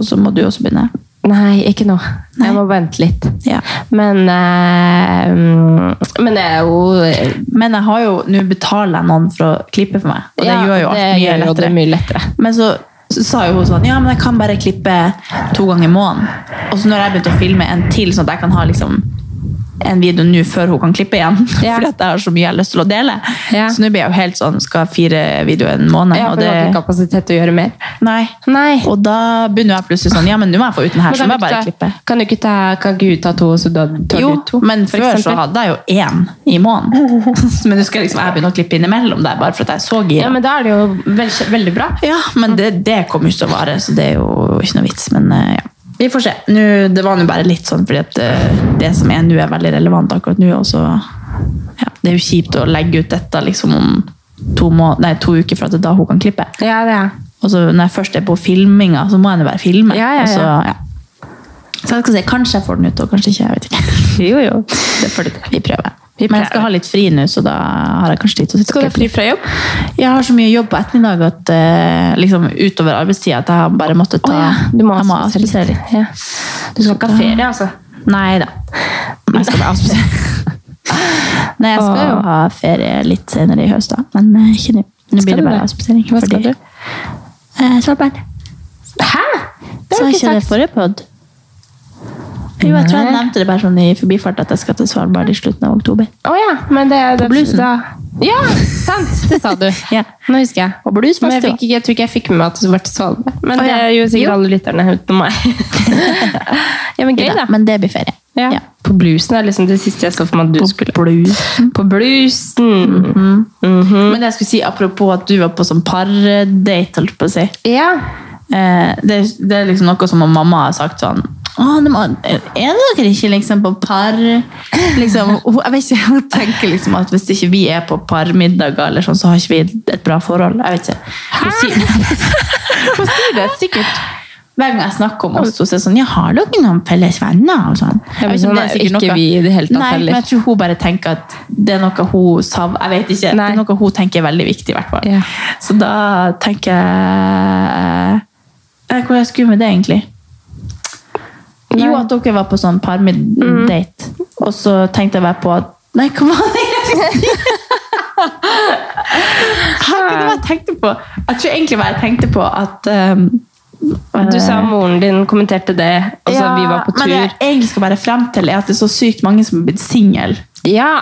Speaker 2: Og så må du også begynne.
Speaker 1: Nei, ikke nå.
Speaker 2: Nei.
Speaker 1: Jeg må vente litt.
Speaker 2: Ja.
Speaker 1: Men eh, mm, Men det er jo
Speaker 2: Men jeg har jo, nå betaler jeg noen for å klippe for meg, og det
Speaker 1: Ja,
Speaker 2: gjør jo alt
Speaker 1: det
Speaker 2: mye
Speaker 1: gjør jo det
Speaker 2: lettere.
Speaker 1: mye lettere.
Speaker 2: Men så, så sa jo hun sånn, ja, men jeg kan bare klippe to ganger i måneden. Og så når jeg begynte å filme en til, sånn at jeg kan ha liksom en video nå før hun kan klippe igjen,
Speaker 1: Ja.
Speaker 2: fordi at jeg har så mye jeg har lyst til å dele.
Speaker 1: Ja.
Speaker 2: Så nå blir jeg jo helt sånn, skal ha fire videoer en måned,
Speaker 1: Jeg
Speaker 2: og
Speaker 1: har
Speaker 2: det...
Speaker 1: ikke kapasitet til å gjøre mer.
Speaker 2: Nei.
Speaker 1: Nei.
Speaker 2: Og da begynner jeg plutselig sånn, ja, men nå må jeg få ut den her, så må
Speaker 1: Men
Speaker 2: jeg bare klippe.
Speaker 1: Kan du ikke ta, kan ikke du ta to, så da tar
Speaker 2: Jo,
Speaker 1: du to?
Speaker 2: men
Speaker 1: for
Speaker 2: før så
Speaker 1: eksempel?
Speaker 2: hadde jeg jo én i måneden. men nå skal jeg liksom jeg begynne å klippe innimellom der, bare for at jeg så gira.
Speaker 1: Ja, men da er det jo vel, veldig bra.
Speaker 2: Ja, men det, det kommer jo ikke til å vare, så det er jo ikke noe vits. Men eh, ja, vi får se. Nå, det var nå bare litt sånn, fordi at eh, det som er nå er veldig relevant akkurat nå, og så ja, det er jo kjipt å legge ut dette liksom om to, må nei, to uker fra til da hun kan klippe.
Speaker 1: Ja, det er.
Speaker 2: Og så når jeg først er på filminga, så må jeg nå bare filme.
Speaker 1: Ja, ja,
Speaker 2: og Så,
Speaker 1: ja.
Speaker 2: ja. så jeg skal si, kanskje jeg får den ut, og kanskje ikke. jeg vet ikke.
Speaker 1: Jo, jo.
Speaker 2: Det får du til. Vi prøver.
Speaker 1: Vi
Speaker 2: Men jeg skal
Speaker 1: prøver.
Speaker 2: ha litt fri nå, så da har jeg kanskje tid til å sitte
Speaker 1: Skal du
Speaker 2: og
Speaker 1: ha fri fra jobb?
Speaker 2: jeg har så mye jobb på ettermiddag at eh, liksom utover arbeidstida at jeg har bare måttet ta
Speaker 1: Du må
Speaker 2: jeg må
Speaker 1: avspasere
Speaker 2: avspasere litt.
Speaker 1: litt. Ja. Du skal ikke ha ferie, altså?
Speaker 2: Nei da. Jeg skal bare avspasere. Nei, jeg skal jo ha ferie litt senere i høst, da. Men eh, ikke nå. Nå
Speaker 1: Skal
Speaker 2: blir det
Speaker 1: du
Speaker 2: bare
Speaker 1: det?
Speaker 2: avspasering.
Speaker 1: Hva skal du?
Speaker 2: Eh, Svalbard.
Speaker 1: Hæ? Det har
Speaker 2: Sa jeg
Speaker 1: du ikke
Speaker 2: ikke det i
Speaker 1: sagt.
Speaker 2: forrige pod? Jo, jeg tror jeg
Speaker 1: Nei.
Speaker 2: nevnte det bare sånn i forbifart at jeg skal til Svalbard i slutten av oktober.
Speaker 1: Å ja, men det, det
Speaker 2: blusen.
Speaker 1: Da. Ja, sant! Det sa du.
Speaker 2: Ja.
Speaker 1: Nå husker jeg.
Speaker 2: Og
Speaker 1: Men
Speaker 2: bluesfestival.
Speaker 1: jeg, fikk, ikke- jeg tror ikke jeg fikk med meg at du var til Svalbard. Men
Speaker 2: Å,
Speaker 1: det
Speaker 2: ja.
Speaker 1: er jo sikkert
Speaker 2: Jo.
Speaker 1: alle lytterne utenom meg. ja, men gøy, da.
Speaker 2: Men det blir ferie.
Speaker 1: Ja.
Speaker 2: Ja.
Speaker 1: På bluesen er liksom det siste jeg så for meg at du skulle På Mhm. bluesen!
Speaker 2: Men det jeg skulle si apropos at du var på sånn pardate, holdt jeg på å si.
Speaker 1: Ja.
Speaker 2: eh, det, det er liksom noe som mamma har sagt sånn «Åh, de, er dere ikke liksom på par liksom, hun- Jeg vet ikke, hun tenker liksom at hvis ikke vi er på parmiddager, eller sånn, så har ikke vi et bra forhold. Jeg vet ikke. Hun sier, hun sier det sikkert hver gang jeg snakker om oss. Hun sier sånn Ja, har dere noen felles venner? Og sånn.
Speaker 1: Ja, men
Speaker 2: Jeg vet om
Speaker 1: sånn
Speaker 2: det
Speaker 1: er
Speaker 2: sikkert
Speaker 1: ikke vi i det hele tatt
Speaker 2: Nei,
Speaker 1: heller.
Speaker 2: men jeg tror hun bare tenker at det er noe hun savner. Jeg vet ikke.
Speaker 1: Nei.
Speaker 2: Det er noe hun tenker er veldig viktig, i hvert fall.
Speaker 1: Ja.
Speaker 2: Så da tenker jeg eh, Hvor jeg skulle med det, egentlig? Jo, at dere var på sånn parmid-date,
Speaker 1: Mm.
Speaker 2: og så tenkte jeg bare på at Nei, hva var det jeg skulle si? Hva var det jeg tenkte på? Jeg tror egentlig hva jeg tenkte på, at eh,
Speaker 1: Du sa moren din kommenterte det, og så
Speaker 2: ja,
Speaker 1: vi var på tur.
Speaker 2: Men det jeg egentlig skal bare frem til, er at det er så sykt mange som er blitt singel.
Speaker 1: Ja!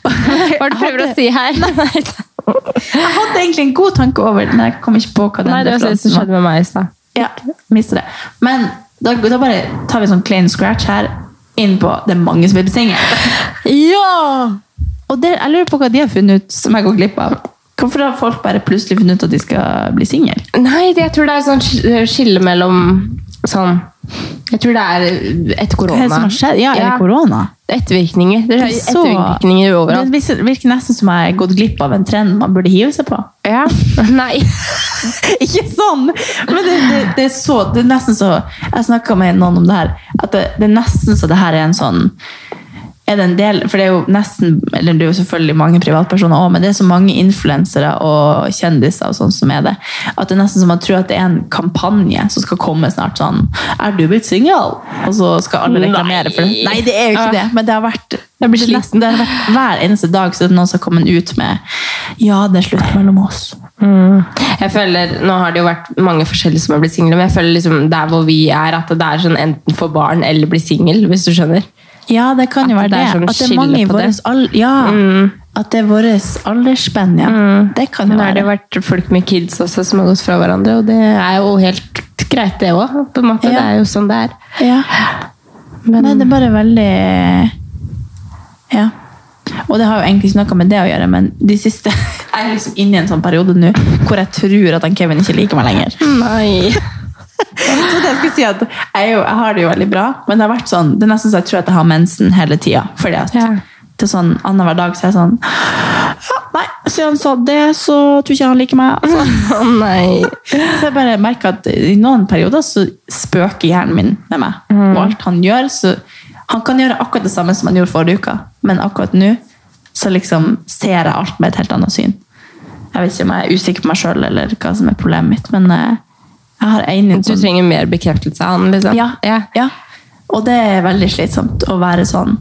Speaker 1: Hva er det du prøver å si her? Nei,
Speaker 2: Jeg hadde egentlig en god tanke over det, men jeg kom ikke på hva den
Speaker 1: det var det som
Speaker 2: referansen var.
Speaker 1: skjedde med meg i stad.
Speaker 2: Ja, mistet det. Men da, da bare tar vi sånn clean scratch her inn på det er mange som er blitt single.
Speaker 1: Ja!
Speaker 2: Og det, jeg lurer på hva de har funnet ut som jeg går glipp av. Hvorfor har folk bare plutselig funnet ut at de skal bli single?
Speaker 1: Nei, det, jeg tror det er sånn sk- skille mellom sånn Jeg tror det er etter
Speaker 2: Hva er det
Speaker 1: korona.
Speaker 2: som har skjedd? Ja, er
Speaker 1: Ja.
Speaker 2: det korona?
Speaker 1: Ettervirkninger. Det er
Speaker 2: Så-
Speaker 1: ettervirkninger overalt.
Speaker 2: Det virker- virker nesten som jeg har gått glipp av en trend man burde hive seg på.
Speaker 1: Ja. Nei.
Speaker 2: Ikke sånn! Men det, det, det er så Det er nesten så Jeg snakka med noen om det her, at det, det er nesten så det her er en sånn er det en del, for det er jo nesten, eller det er jo selvfølgelig mange privatpersoner også, men det er så mange influensere og kjendiser og sånn som er det, at det er nesten som man tror at det er en kampanje som skal komme snart sånn, er du blitt single? Og så skal alle reklamere for det.
Speaker 1: Nei. Ah.
Speaker 2: Nei, det er jo ikke det, men det har vært, det
Speaker 1: blir
Speaker 2: er nesten, det har vært hver eneste dag så er det noen som kommer ut med, ja, det er slutt mellom oss.
Speaker 1: Jeg føler, Nå har det jo vært mange forskjellige som har blitt single, men jeg føler liksom der hvor vi er, at det er sånn enten få barn eller bli singel, hvis du skjønner.
Speaker 2: Ja, det kan jo
Speaker 1: At
Speaker 2: være
Speaker 1: det
Speaker 2: det.
Speaker 1: er sånn
Speaker 2: At det Mm. er
Speaker 1: skille
Speaker 2: mange i
Speaker 1: på det.
Speaker 2: våres al ja, at det er våres aldersspenn, ja. Mm. Det kan jo
Speaker 1: Men nå har det
Speaker 2: være.
Speaker 1: jo vært folk med kids også som har gått fra hverandre, og det er jo helt greit, det òg. måte.
Speaker 2: Ja.
Speaker 1: Det er jo sånn det er.
Speaker 2: Ja. Nei, det er bare veldig Ja. Og det har jo egentlig ikke noe med det å gjøre, men de siste Jeg er liksom inne i en sånn periode nå hvor jeg tror at han Kevin ikke liker meg lenger.
Speaker 1: Nei.
Speaker 2: Så det jeg skulle si at jeg, er jo, jeg har det jo veldig bra, men det har vært sånn, det er nesten så jeg tror at jeg har mensen hele tida. Fordi at
Speaker 1: Ja.
Speaker 2: det er sånn annenhver dag så er jeg sånn «Ja, Nei, siden han sa det, så tror ikke han liker meg. Altså.
Speaker 1: Å nei.
Speaker 2: Så jeg bare merker at i noen perioder så spøker hjernen min med meg. Og alt han gjør, så Han kan gjøre akkurat det samme som han gjorde forrige uke, men akkurat nå så liksom ser jeg alt med et helt annet syn. Jeg vet ikke om jeg er usikker på meg sjøl eller hva som er problemet mitt, men eh, jeg har en
Speaker 1: Du
Speaker 2: sånn-
Speaker 1: trenger mer bekreftelse av han, liksom?
Speaker 2: ja, ja. Og det er veldig slitsomt å være sånn.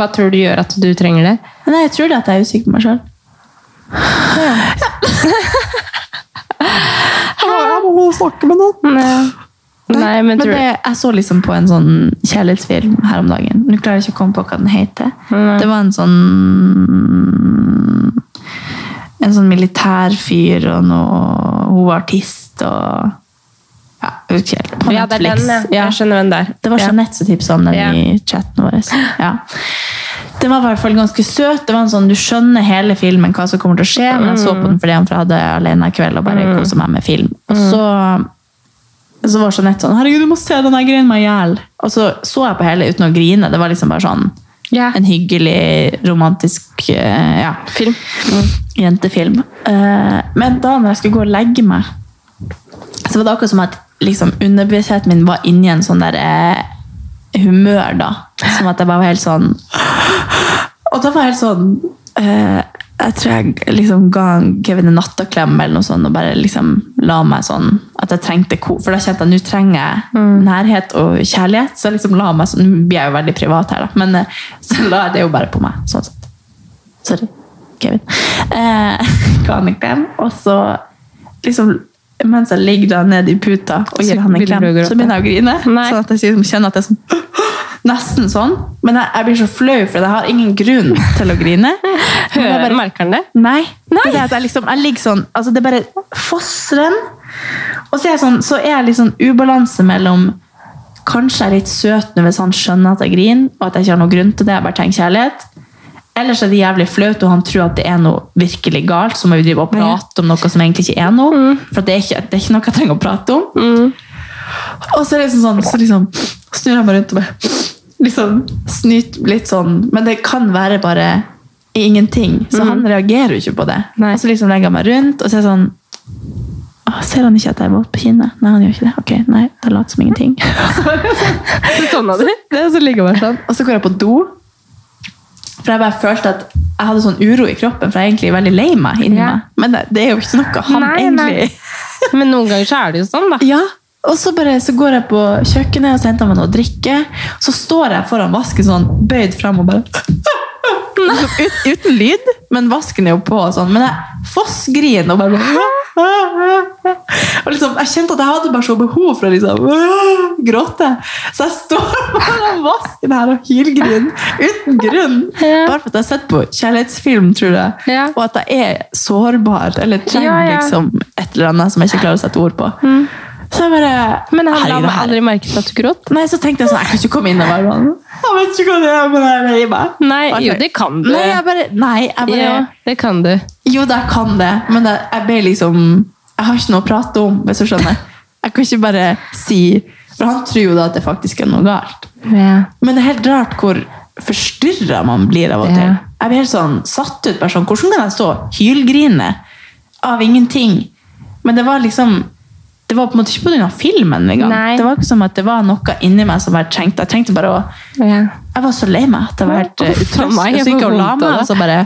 Speaker 1: Hva tror du gjør at du trenger det?
Speaker 2: Men jeg tror det at jeg er usikker på meg sjøl. Jeg må snakke med noen.
Speaker 1: Mm, Nei, men, tror
Speaker 2: det, jeg så liksom på en sånn kjærlighetsfilm her om dagen. Nå klarer jeg ikke å komme på hva den heter. Det var en sånn En sånn militær fyr og noe Hun var artist og Ja, jeg vet ikke helt. På
Speaker 1: du Ja, det er den, ja. sånn-
Speaker 2: Netflix. Ja.
Speaker 1: Jeg skjønner den der.
Speaker 2: Det var
Speaker 1: ja.
Speaker 2: Jeanette som tipsa om den
Speaker 1: Ja.
Speaker 2: i chatten vår. Ja. Den var i hvert fall ganske søt. Det var en sånn, Du skjønner hele filmen hva som kommer til å skje, men jeg så
Speaker 1: Mm.
Speaker 2: på den fordi jeg hadde alene i kveld og bare koset meg med film. Og
Speaker 1: Mm.
Speaker 2: så, så var Jeanette sånn 'Herregud, du må se den, jeg griner meg i hjel'. Og så så jeg på hele uten å grine. Det var liksom bare sånn
Speaker 1: Ja.
Speaker 2: en hyggelig, romantisk eh, ja,
Speaker 1: Film.
Speaker 2: jentefilm. Eh, Men da når jeg skulle gå og legge meg, så var det akkurat som at liksom, underbevisstheten min var inni en sånn der eh, humør, da. Som at jeg bare var helt sånn Og da var jeg helt sånn eh, Jeg tror jeg liksom ga han Kevin en nattaklem eller noe sånt, og bare liksom la meg sånn at jeg trengte ko. For da kjente jeg nå trenger jeg
Speaker 1: Mm.
Speaker 2: nærhet og kjærlighet. Så jeg liksom la meg sånn Nå blir jeg jo veldig privat her, da, men eh, så la jeg det jo bare på meg. sånn sett. Sorry, Kevin. Eh, ga han en klem, og så liksom mens jeg ligger da nede i puta og
Speaker 1: Så
Speaker 2: gir han en
Speaker 1: begynner
Speaker 2: klem,
Speaker 1: du å gråte?
Speaker 2: så begynner jeg å grine.
Speaker 1: Nei.
Speaker 2: Sånn at jeg liksom kjenner at jeg er sånn Nesten sånn. Men jeg, jeg blir så flau, for jeg har ingen grunn til å grine. Men jeg
Speaker 1: Hører,
Speaker 2: bare-
Speaker 1: merker han det?
Speaker 2: Nei. Det er at jeg, liksom, jeg ligger sånn altså Det er bare fossrenn. Og så er jeg, sånn, så er jeg litt sånn ubalanse mellom Kanskje jeg er litt søt nå hvis han skjønner at jeg griner, og at jeg ikke har noen grunn til det. Jeg bare trenger kjærlighet. Ellers er det jævlig flaut, og han tror at det er noe virkelig galt. Så må vi drive og prate om noe som egentlig ikke er noe. For det er ikke, det er ikke noe jeg trenger å prate om.
Speaker 1: Mm.
Speaker 2: Og så er det liksom sånn, så liksom snur jeg meg rundt og bare liksom snyt litt sånn. Men det kan være bare ingenting. Så han reagerer jo ikke på det.
Speaker 1: Nei.
Speaker 2: Og så liksom legger jeg meg rundt og så er jeg sånn «Åh, Ser han ikke at jeg er våt på kinnet? Nei, han gjør ikke det. Ok, nei, da later som ingenting.
Speaker 1: Sånn av det.
Speaker 2: Det, så ligger jeg bare sånn. Og så går jeg på do. For jeg bare følte at jeg hadde sånn uro i kroppen, for jeg er egentlig veldig lei meg inni
Speaker 1: Ja.
Speaker 2: meg. Men det, det er jo ikke noe han
Speaker 1: Nei, nei.
Speaker 2: egentlig
Speaker 1: Men noen ganger så er det jo sånn, da.
Speaker 2: Ja, og så, bare, så går jeg på kjøkkenet og så henter jeg meg noe å drikke. Så står jeg foran vasken sånn, bøyd frem og bare Ut, Uten lyd, men vasken er jo på og sånn. Men jeg fossgriner og bare og liksom, Jeg kjente at jeg hadde bare så behov for å liksom gråte. Så jeg står foran vasken her og hylgriner uten grunn.
Speaker 1: Ja.
Speaker 2: Bare for at jeg har sett på kjærlighetsfilm, tror jeg.
Speaker 1: Ja.
Speaker 2: Og at jeg er sårbar, eller trenger
Speaker 1: Ja, ja.
Speaker 2: liksom et eller annet som jeg ikke klarer å sette ord på. Så jeg bare
Speaker 1: Men han
Speaker 2: Herregud,
Speaker 1: la meg
Speaker 2: det her-
Speaker 1: aldri merket at du gråt.
Speaker 2: Nei, så tenkte jeg sånn, jeg kan ikke komme inn og være sånn Jeg vet ikke hva det er, men jeg er lei meg.
Speaker 1: Nei,
Speaker 2: Og jeg
Speaker 1: jo,
Speaker 2: bare-
Speaker 1: det kan du.
Speaker 2: Nei, jeg bare, nei, jeg bare
Speaker 1: Ja, det kan du.
Speaker 2: Jo, da jeg kan det, men jeg, jeg ble liksom Jeg har ikke noe å prate om, hvis du skjønner. Jeg kan ikke bare si For han tror jo da at det faktisk er noe galt.
Speaker 1: Ja.
Speaker 2: Men det er helt rart hvor forstyrra man blir av og
Speaker 1: Ja.
Speaker 2: til. Jeg blir helt sånn satt ut. Bare sånn, hvordan kan jeg stå og hylgrine av ingenting? Men det var liksom Det var på en måte ikke på grunn av filmen engang.
Speaker 1: Nei.
Speaker 2: Det var ikke som at det var noe inni meg som jeg trengte. Jeg trengte bare å
Speaker 1: Ja.
Speaker 2: Jeg var så lei meg at jeg var helt eh,
Speaker 1: Uff,
Speaker 2: utrøst.
Speaker 1: meg, altså,
Speaker 2: Jeg
Speaker 1: jeg
Speaker 2: gikk
Speaker 1: får
Speaker 2: og la
Speaker 1: vondt av
Speaker 2: meg,
Speaker 1: det.
Speaker 2: og så bare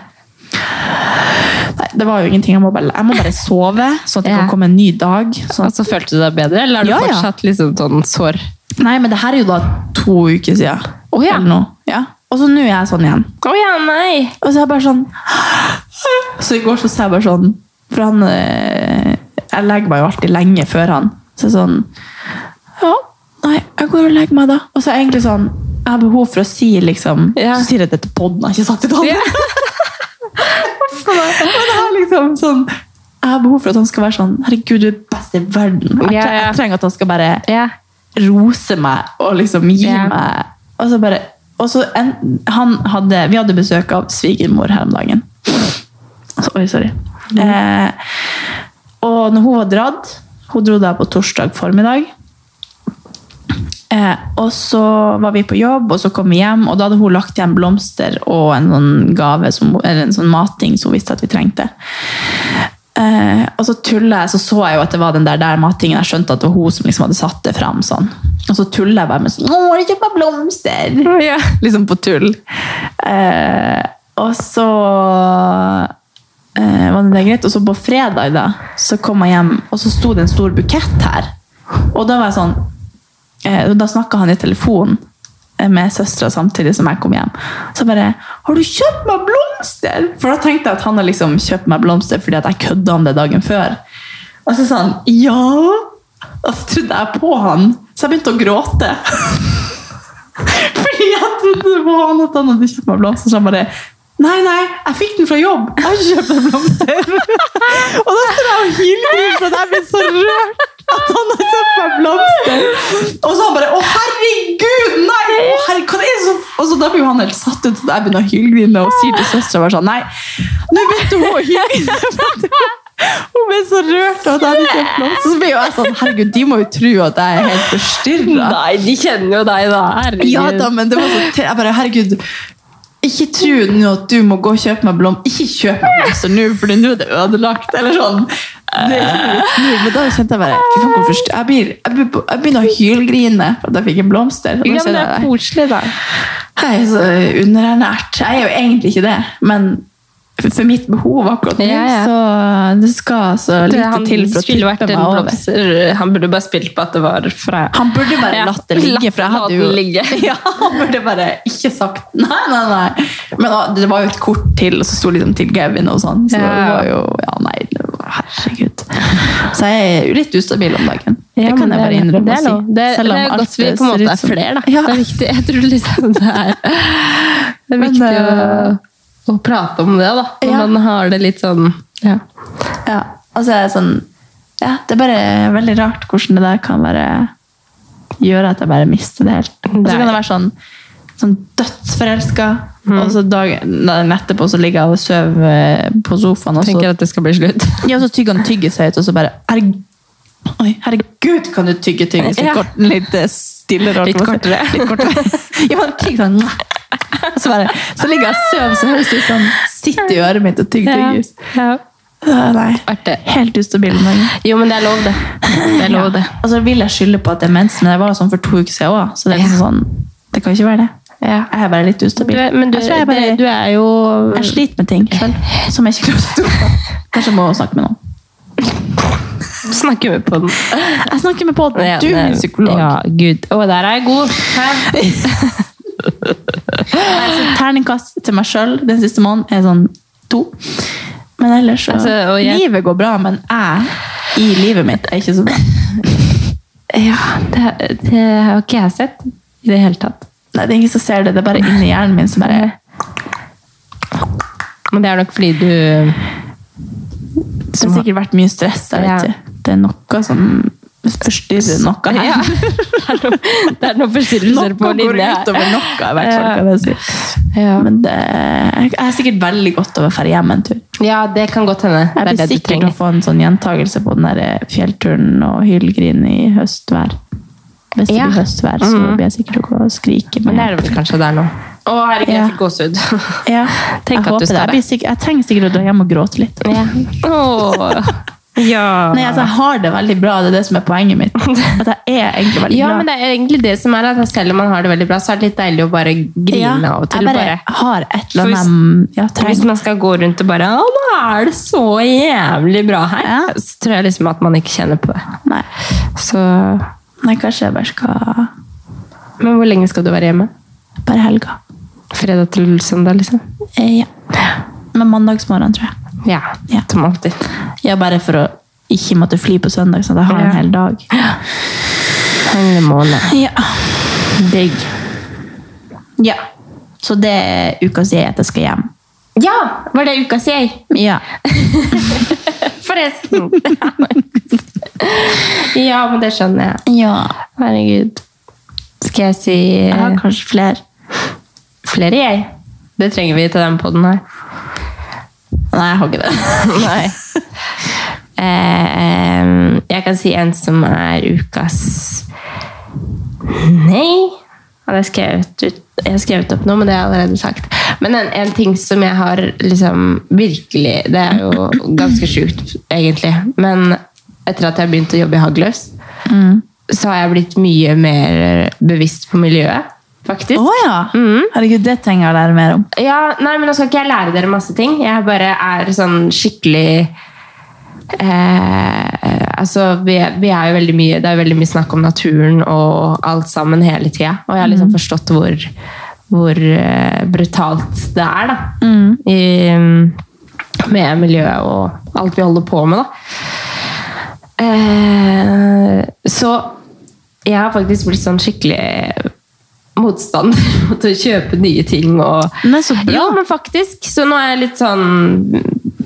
Speaker 2: Nei, det var jo ingenting. Jeg må bare, jeg må bare sove, sånn at det
Speaker 1: Ja.
Speaker 2: kan komme en ny dag. Sånn.
Speaker 1: Altså, følte du deg bedre, eller er du
Speaker 2: Ja, ja.
Speaker 1: fortsatt liksom sånn sår?
Speaker 2: Nei, men det her er jo da to uker siden.
Speaker 1: Å, ja.
Speaker 2: Eller noe. Ja. Og så nå er jeg sånn igjen.
Speaker 1: Å ja, nei!
Speaker 2: Og så er jeg bare sånn Så i går så sa jeg bare sånn For han eh, Jeg legger meg jo alltid lenge før han. Så jeg sånn Ja, nei, jeg går og legger meg da. Og så er jeg egentlig sånn Jeg har behov for å si liksom
Speaker 1: Ja.
Speaker 2: Så sier jeg det til podden, jeg har ikke sagt det til han.
Speaker 1: Ja.
Speaker 2: Men det er liksom sånn Jeg har behov for at han skal være sånn Herregud, du er best i verden. Jeg,
Speaker 1: Ja,
Speaker 2: tre-
Speaker 1: ja.
Speaker 2: jeg trenger at han skal bare
Speaker 1: Ja.
Speaker 2: rose meg og liksom gi
Speaker 1: Ja.
Speaker 2: meg Og så bare og så en, han hadde, Vi hadde besøk av svigermor her om dagen. Altså, oi, sorry. Eh, og når hun var dratt Hun dro da på torsdag formiddag. Eh, og så var vi på jobb, og så kom vi hjem, og da hadde hun lagt igjen blomster og en sånn gave, som, eller en sånn mating som hun visste at vi trengte. Eh, og så tullet jeg, så så jeg jo at det var den der, der matingen, jeg skjønte at det var hun som liksom hadde satt det frem sånn. Og så tullet jeg bare med sånn, åh, det kjøper blomster!
Speaker 1: ja.
Speaker 2: liksom på tull. Eh, og så eh, var det det greit. Og så på fredag da, så kom jeg hjem, og så sto det en stor bukett her. Og da var jeg sånn eh, Da snakka han i telefonen eh, med søstera samtidig som jeg kom hjem. Så jeg bare 'Har du kjøpt meg blomster?' For da tenkte jeg at han har liksom kjøpt meg blomster fordi at jeg kødda om det dagen før. Og så sa han 'ja'. Og så trodde jeg på han, så jeg begynte å gråte. Fordi jeg trodde på han at han hadde kjøpt meg blomster. Så han bare Nei, nei, jeg fikk den fra jobb. Jeg har ikke kjøpt meg blomster. og da står jeg og hylgriner for at jeg blir så rørt at han har kjøpt meg blomster. Og så han bare Å, herregud, nei! Å, herregud, hva er det som Og så da blir jo han helt satt ut, og jeg begynner å hylgrine og sier til søstera bare sånn Nei, nå begynte hun å hylgrine. Hun ble så rørt av at jeg hadde kjøpt blomster. Så ble jo jeg sånn Herregud, de må jo tro at jeg er helt forstyrra.
Speaker 1: Nei, de kjenner jo deg, da. Herregud.
Speaker 2: Ja da, men det var så te- Jeg bare, herregud ikke tro nå at du må gå og kjøpe meg blom Ikke kjøp meg blomster nå, for nå er det ødelagt. Eller sånn. Det er ikke litt nå, men da kjente jeg bare Fy faen, hvorfor st- jeg, blir, jeg, blir, jeg begynner å hylgrine for at jeg fikk en blomster. Og da
Speaker 1: Ja, men det
Speaker 2: kjenner
Speaker 1: er
Speaker 2: jeg,
Speaker 1: koselig, da.
Speaker 2: jeg er så underernært. Jeg er jo egentlig ikke det, men for for mitt behov akkurat nå,
Speaker 1: Ja, ja.
Speaker 2: så eh, det skal så
Speaker 1: Det,
Speaker 2: lite
Speaker 1: han,
Speaker 2: til for å
Speaker 1: skulle vært
Speaker 2: tippe
Speaker 1: en
Speaker 2: meg over.
Speaker 1: blomster. Han burde bare spilt på at det var fra
Speaker 2: Han burde bare
Speaker 1: Ja,
Speaker 2: latt det ligge, for jeg
Speaker 1: la
Speaker 2: hadde jo
Speaker 1: den ligge.
Speaker 2: Ja, han burde bare ikke sagt nei, nei, nei. Men da, det var jo et kort til, og så sto liksom til Gavin og sånn. Så
Speaker 1: Ja.
Speaker 2: det var jo Ja, nei, det var, herregud. Så jeg er jo litt ustabil om dagen. det kan jeg bare innrømme
Speaker 1: det er
Speaker 2: å
Speaker 1: lov.
Speaker 2: si.
Speaker 1: Det,
Speaker 2: Selv om
Speaker 1: det er
Speaker 2: alt
Speaker 1: godt vi på en
Speaker 2: ser
Speaker 1: måte
Speaker 2: ut
Speaker 1: er
Speaker 2: som-
Speaker 1: flere, da.
Speaker 2: Ja.
Speaker 1: Det er viktig. Jeg tror liksom det er Det er
Speaker 2: Men,
Speaker 1: viktig
Speaker 2: eh,
Speaker 1: å, å prate om det, da.
Speaker 2: Ja.
Speaker 1: Hvordan har det litt sånn ja.
Speaker 2: Ja, altså jeg er sånn Ja, det er bare veldig rart hvordan det der kan være Gjøre at jeg bare mister det helt. Og så
Speaker 1: Det Mm. er-
Speaker 2: kan det være sånn sånn dødsforelska. Og så dagen dagen etterpå så ligger jeg og sover eh, på sofaen, og så,
Speaker 1: Tenker at det skal bli slutt.
Speaker 2: ja, så tygger han tyggesøyt, og så bare herregud, Oi, herregud, kan du tygge tyggesøyt
Speaker 1: Ja.
Speaker 2: kort, litt eh, stillere?
Speaker 1: Litt kortere.
Speaker 2: Litt kortere. ja, han tygger sånn og så, bare, så ligger jeg og sover, så høres det ut som han sitter i øret mitt og tygger tyggis. Ja, Nei.
Speaker 1: Artig.
Speaker 2: Helt ustabil i magen.
Speaker 1: Jo, men det er lov, det. Det er lov, det.
Speaker 2: Ja. Og så vil jeg skylde på at det er mens, men jeg var sånn for to uker siden òg. Så det er liksom sånn, det kan ikke være det.
Speaker 1: Ja.
Speaker 2: Jeg er bare litt ustabil.
Speaker 1: Du er, men du,
Speaker 2: jeg, tror jeg, bare,
Speaker 1: det, du er jo
Speaker 2: jeg sliter med ting selv, som jeg ikke klarer å stå på. Kanskje jeg må snakke med noen.
Speaker 1: Snakker vi på den?
Speaker 2: Jeg snakker med podden. Du er min psykolog.
Speaker 1: Ja, gud. Å, der er jeg god. Hæ?
Speaker 2: Altså, terningkast til meg sjøl den siste måneden er sånn to. Men ellers så
Speaker 1: Altså, og jeg-
Speaker 2: Livet går bra, men jeg i livet mitt er ikke så bra.
Speaker 1: Ja, det, det har ikke jeg sett i det hele tatt.
Speaker 2: Nei, det er ingen som ser det. Det er bare inni hjernen min som bare
Speaker 1: Men det er nok fordi du
Speaker 2: Det har sikkert vært mye stress. Jeg vet
Speaker 1: Ja.
Speaker 2: ikke. Det er noe som forstyrrer noe her.
Speaker 1: Ja. Det er noe, det er noe forstyrrelser på linja her.
Speaker 2: noe, i
Speaker 1: hvert fall, kan
Speaker 2: jeg si.
Speaker 1: Ja.
Speaker 2: Men det, jeg er sikkert veldig godt av å dra hjem en tur.
Speaker 1: ja, det kan godt hende. Det
Speaker 2: Jeg
Speaker 1: er
Speaker 2: blir
Speaker 1: det du
Speaker 2: sikkert å
Speaker 1: trenger.
Speaker 2: få en sånn gjentagelse på den der eh, fjellturen og hylgrin i høstvær. Hvis det
Speaker 1: Ja. Mm.
Speaker 2: blir høstvær, så blir jeg sikkert å gå og skrike.
Speaker 1: Men det er det kanskje der nå. Å, herregud,
Speaker 2: Ja.
Speaker 1: jeg fikk gåsehud.
Speaker 2: ja,
Speaker 1: Tenk
Speaker 2: jeg
Speaker 1: at du
Speaker 2: håper det.
Speaker 1: skal
Speaker 2: Jeg,
Speaker 1: det.
Speaker 2: blir sikkert, jeg trenger sikkert å dra hjem og gråte litt.
Speaker 1: Ja. Åh. ja.
Speaker 2: Nei, altså, jeg har det veldig bra. Det er det som er poenget mitt. At jeg er egentlig veldig
Speaker 1: ja,
Speaker 2: glad.
Speaker 1: men det er egentlig det som er at selv om man har det veldig bra, så er det litt deilig å bare grine av og til.
Speaker 2: Jeg bare,
Speaker 1: Bare,
Speaker 2: har et eller
Speaker 1: For hvis-
Speaker 2: annet jeg ja,
Speaker 1: hvis
Speaker 2: trenger.
Speaker 1: man skal gå rundt og bare Å, nå er det så jævlig bra her!
Speaker 2: Ja.
Speaker 1: Så tror jeg liksom at man ikke kjenner på det.
Speaker 2: Nei.
Speaker 1: Så
Speaker 2: Nei, kanskje jeg bare skal
Speaker 1: Men hvor lenge skal du være hjemme?
Speaker 2: Bare helga.
Speaker 1: Fredag til søndag, liksom?
Speaker 2: Eh, ja. Men mandagsmorgen, tror jeg.
Speaker 1: Ja.
Speaker 2: Ja.
Speaker 1: Som alltid.
Speaker 2: Ja, bare for å ikke måtte fly på søndag, sånn at jeg har
Speaker 1: Ja.
Speaker 2: en hel dag.
Speaker 1: Hele måned.
Speaker 2: Ja. Digg. Ja. Så det er uka siden at jeg skal hjem.
Speaker 1: Ja! Var det ukas jeg?
Speaker 2: Ja.
Speaker 1: Forresten! ja, men det skjønner jeg.
Speaker 2: ja.
Speaker 1: Herregud. Skal jeg si
Speaker 2: Jeg har kanskje flere.
Speaker 1: flere jeg? Det trenger vi til den podden her.
Speaker 2: Nei, jeg har ikke det.
Speaker 1: Nei. Eh, jeg kan si en som er ukas Nei. Ja, det har jeg skrevet ut, jeg har skrevet opp noe, men det har jeg allerede sagt. Men en, en ting som jeg har liksom virkelig Det er jo ganske sjukt, egentlig. Men etter at jeg begynte å jobbe i Hagløs,
Speaker 2: Mm.
Speaker 1: så har jeg blitt mye mer bevisst på miljøet, faktisk.
Speaker 2: Å ja!
Speaker 1: Mm.
Speaker 2: Herregud, det trenger jeg å lære mer om.
Speaker 1: Ja, nei, men nå skal ikke jeg lære dere masse ting. Jeg bare er sånn skikkelig eh, Altså, vi, vi er jo veldig mye Det er jo veldig mye snakk om naturen og alt sammen hele tida. Og jeg har liksom forstått hvor, hvor eh, brutalt det er, da. I, med miljøet og alt vi holder på med, da. Eh, så jeg har faktisk blitt sånn skikkelig motstander mot å kjøpe nye ting og
Speaker 2: Men så bra.
Speaker 1: Jo, men faktisk. Så nå er jeg litt sånn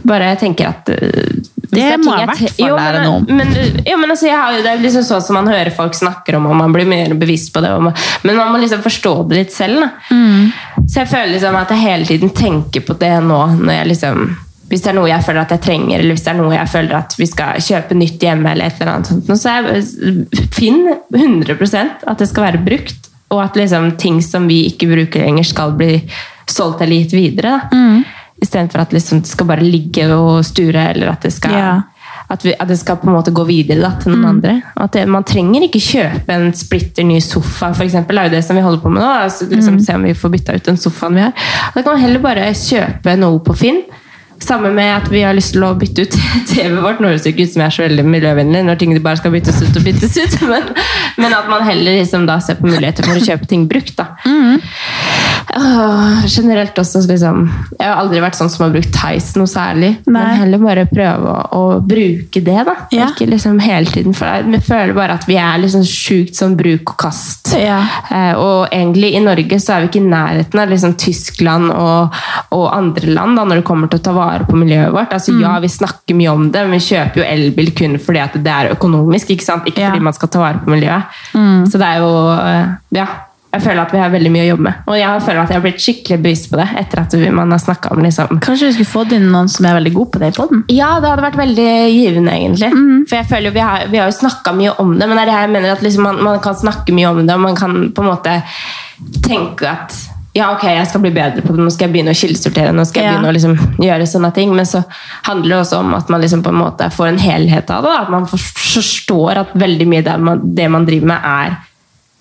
Speaker 1: Bare jeg tenker at eh, hvis er
Speaker 2: må
Speaker 1: ting
Speaker 2: jeg i
Speaker 1: te-
Speaker 2: hvert fall
Speaker 1: Jo, men-
Speaker 2: lære noe om.
Speaker 1: Men, jo, men altså, jeg har jo, det er jo liksom sånn som man hører folk snakker om, og man blir mer bevisst på det. Og man, men man må liksom forstå det litt selv. Da.
Speaker 2: Mm.
Speaker 1: Så jeg føler liksom at jeg hele tiden tenker på det nå. Når jeg liksom, hvis det er noe jeg føler at jeg trenger, eller hvis det er noe jeg føler at vi skal kjøpe nytt hjemme, eller et eller annet sånt, nå, så jeg finn 100 at det skal være brukt. Og at liksom ting som vi ikke bruker lenger, skal bli solgt eller gitt videre. Da.
Speaker 2: Mm.
Speaker 1: Istedenfor at liksom, det skal bare ligge og sture, eller at det skal
Speaker 2: Ja.
Speaker 1: at, vi, at det skal på en måte gå videre da, til noen andre. Og At det, man trenger ikke kjøpe en splitter ny sofa, for eksempel. Det er jo det som vi holder på med nå. da. Altså, liksom, Se om vi får bytta ut den sofaen vi har. Da kan man heller bare kjøpe noe på Finn. Samme med at vi har lyst til å bytte ut TV-et vårt. Nå høres det ikke ut som jeg er så veldig miljøvennlig når ting bare skal byttes ut og byttes ut, men, men at man heller liksom da ser på muligheter for å kjøpe ting brukt. da.
Speaker 2: Mm.
Speaker 1: Åh, generelt også liksom Jeg har aldri vært sånn som har brukt Tice noe særlig.
Speaker 2: Nei.
Speaker 1: Men heller bare prøve å, å bruke det, da.
Speaker 2: Ja.
Speaker 1: Ikke liksom hele tiden. For jeg jeg føler bare at vi er liksom sjukt sånn bruk og kast.
Speaker 2: Ja.
Speaker 1: Eh, og egentlig i Norge så er vi ikke i nærheten av liksom Tyskland og, og andre land da, når det kommer til å ta vare på miljøet vårt. Altså ja, vi snakker mye om det, men vi kjøper jo elbil kun fordi at det er økonomisk, ikke sant? Ikke
Speaker 2: Ja.
Speaker 1: fordi man skal ta vare på miljøet. Så det er jo eh, Ja. Jeg føler at vi har veldig mye å jobbe med. Og jeg føler at jeg har blitt skikkelig bevisst på det etter at vi- man har snakka om liksom
Speaker 2: Kanskje vi skulle fått inn noen som er veldig god på det i podden?
Speaker 1: Ja, det hadde vært veldig givende, egentlig. For jeg føler jo, Vi har, vi har jo snakka mye om det, men det er det jeg mener at liksom man, man kan snakke mye om det, og man kan på en måte tenke at ja, ok, jeg skal bli bedre på det, nå skal jeg begynne å kildesortere, nå skal jeg
Speaker 2: Ja.
Speaker 1: begynne å liksom gjøre sånne ting. Men så handler det også om at man liksom på en måte får en helhet av det. Da. At man for- forstår at veldig mye av det man, det man driver med, er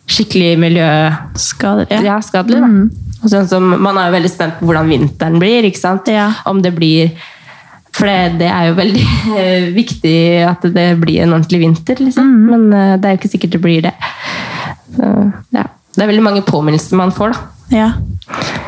Speaker 1: skikkelig miljø
Speaker 2: Skader,
Speaker 1: ja, skadelig. Da. Og sånn som, man er jo veldig spent på hvordan vinteren blir. ikke sant?
Speaker 2: Ja.
Speaker 1: Om det blir For det, det er jo veldig eh, viktig at det blir en ordentlig vinter, liksom.
Speaker 2: Mm.
Speaker 1: Men eh, det er jo ikke sikkert det blir det. Så, ja. Det er veldig mange påminnelser man får, da.
Speaker 2: Ja.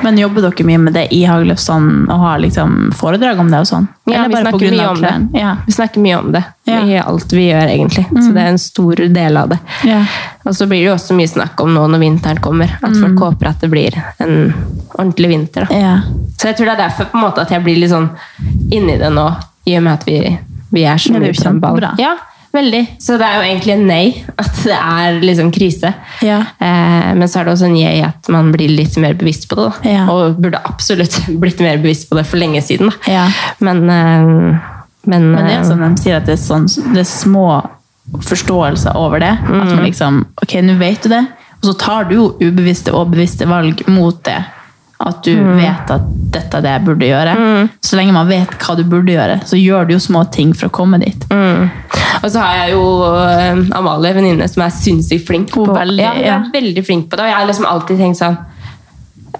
Speaker 2: Men jobber dere mye med det i Hagløfsson og har liksom foredrag om det og sånn?
Speaker 1: Ja, vi snakker mye om det.
Speaker 2: klærne? Ja.
Speaker 1: Vi snakker mye om det
Speaker 2: Ja. Mm.
Speaker 1: i alt vi gjør, egentlig. Så det er en stor del av det.
Speaker 2: Ja.
Speaker 1: Og så blir det jo også mye snakk om nå når vinteren kommer, at
Speaker 2: Mm.
Speaker 1: folk håper at det blir en ordentlig vinter. da.
Speaker 2: ja.
Speaker 1: Så jeg tror det er derfor på en måte at jeg blir litt sånn inni det nå, i og med at vi, vi er så
Speaker 2: Men det
Speaker 1: mye
Speaker 2: er
Speaker 1: på
Speaker 2: jo
Speaker 1: den ballen.
Speaker 2: kjempebra.
Speaker 1: Ja, veldig. Så det er jo egentlig en nei, at det er liksom krise.
Speaker 2: Ja.
Speaker 1: Eh, men så er det også en jeg at man blir litt mer bevisst på det. Da.
Speaker 2: Ja.
Speaker 1: Og burde absolutt blitt mer bevisst på det for lenge siden. Da.
Speaker 2: Ja.
Speaker 1: Men, eh, men,
Speaker 2: Men det
Speaker 1: eh,
Speaker 2: er sånn de sier at det er, sånn, det er små forståelser over det. At man liksom Ok, nå vet du det. Og så tar du jo ubevisste og bevisste valg mot det. At du vet at dette er det jeg burde gjøre. Så lenge man vet hva du burde gjøre, så gjør du jo små ting for å komme dit.
Speaker 1: Mm. Og så har jeg jo eh, Amalie, venninne, som er sinnssykt flink.
Speaker 2: Hun
Speaker 1: på-
Speaker 2: veldig,
Speaker 1: ja, hun
Speaker 2: ja.
Speaker 1: er veldig flink på det. Og jeg har liksom alltid tenkt sånn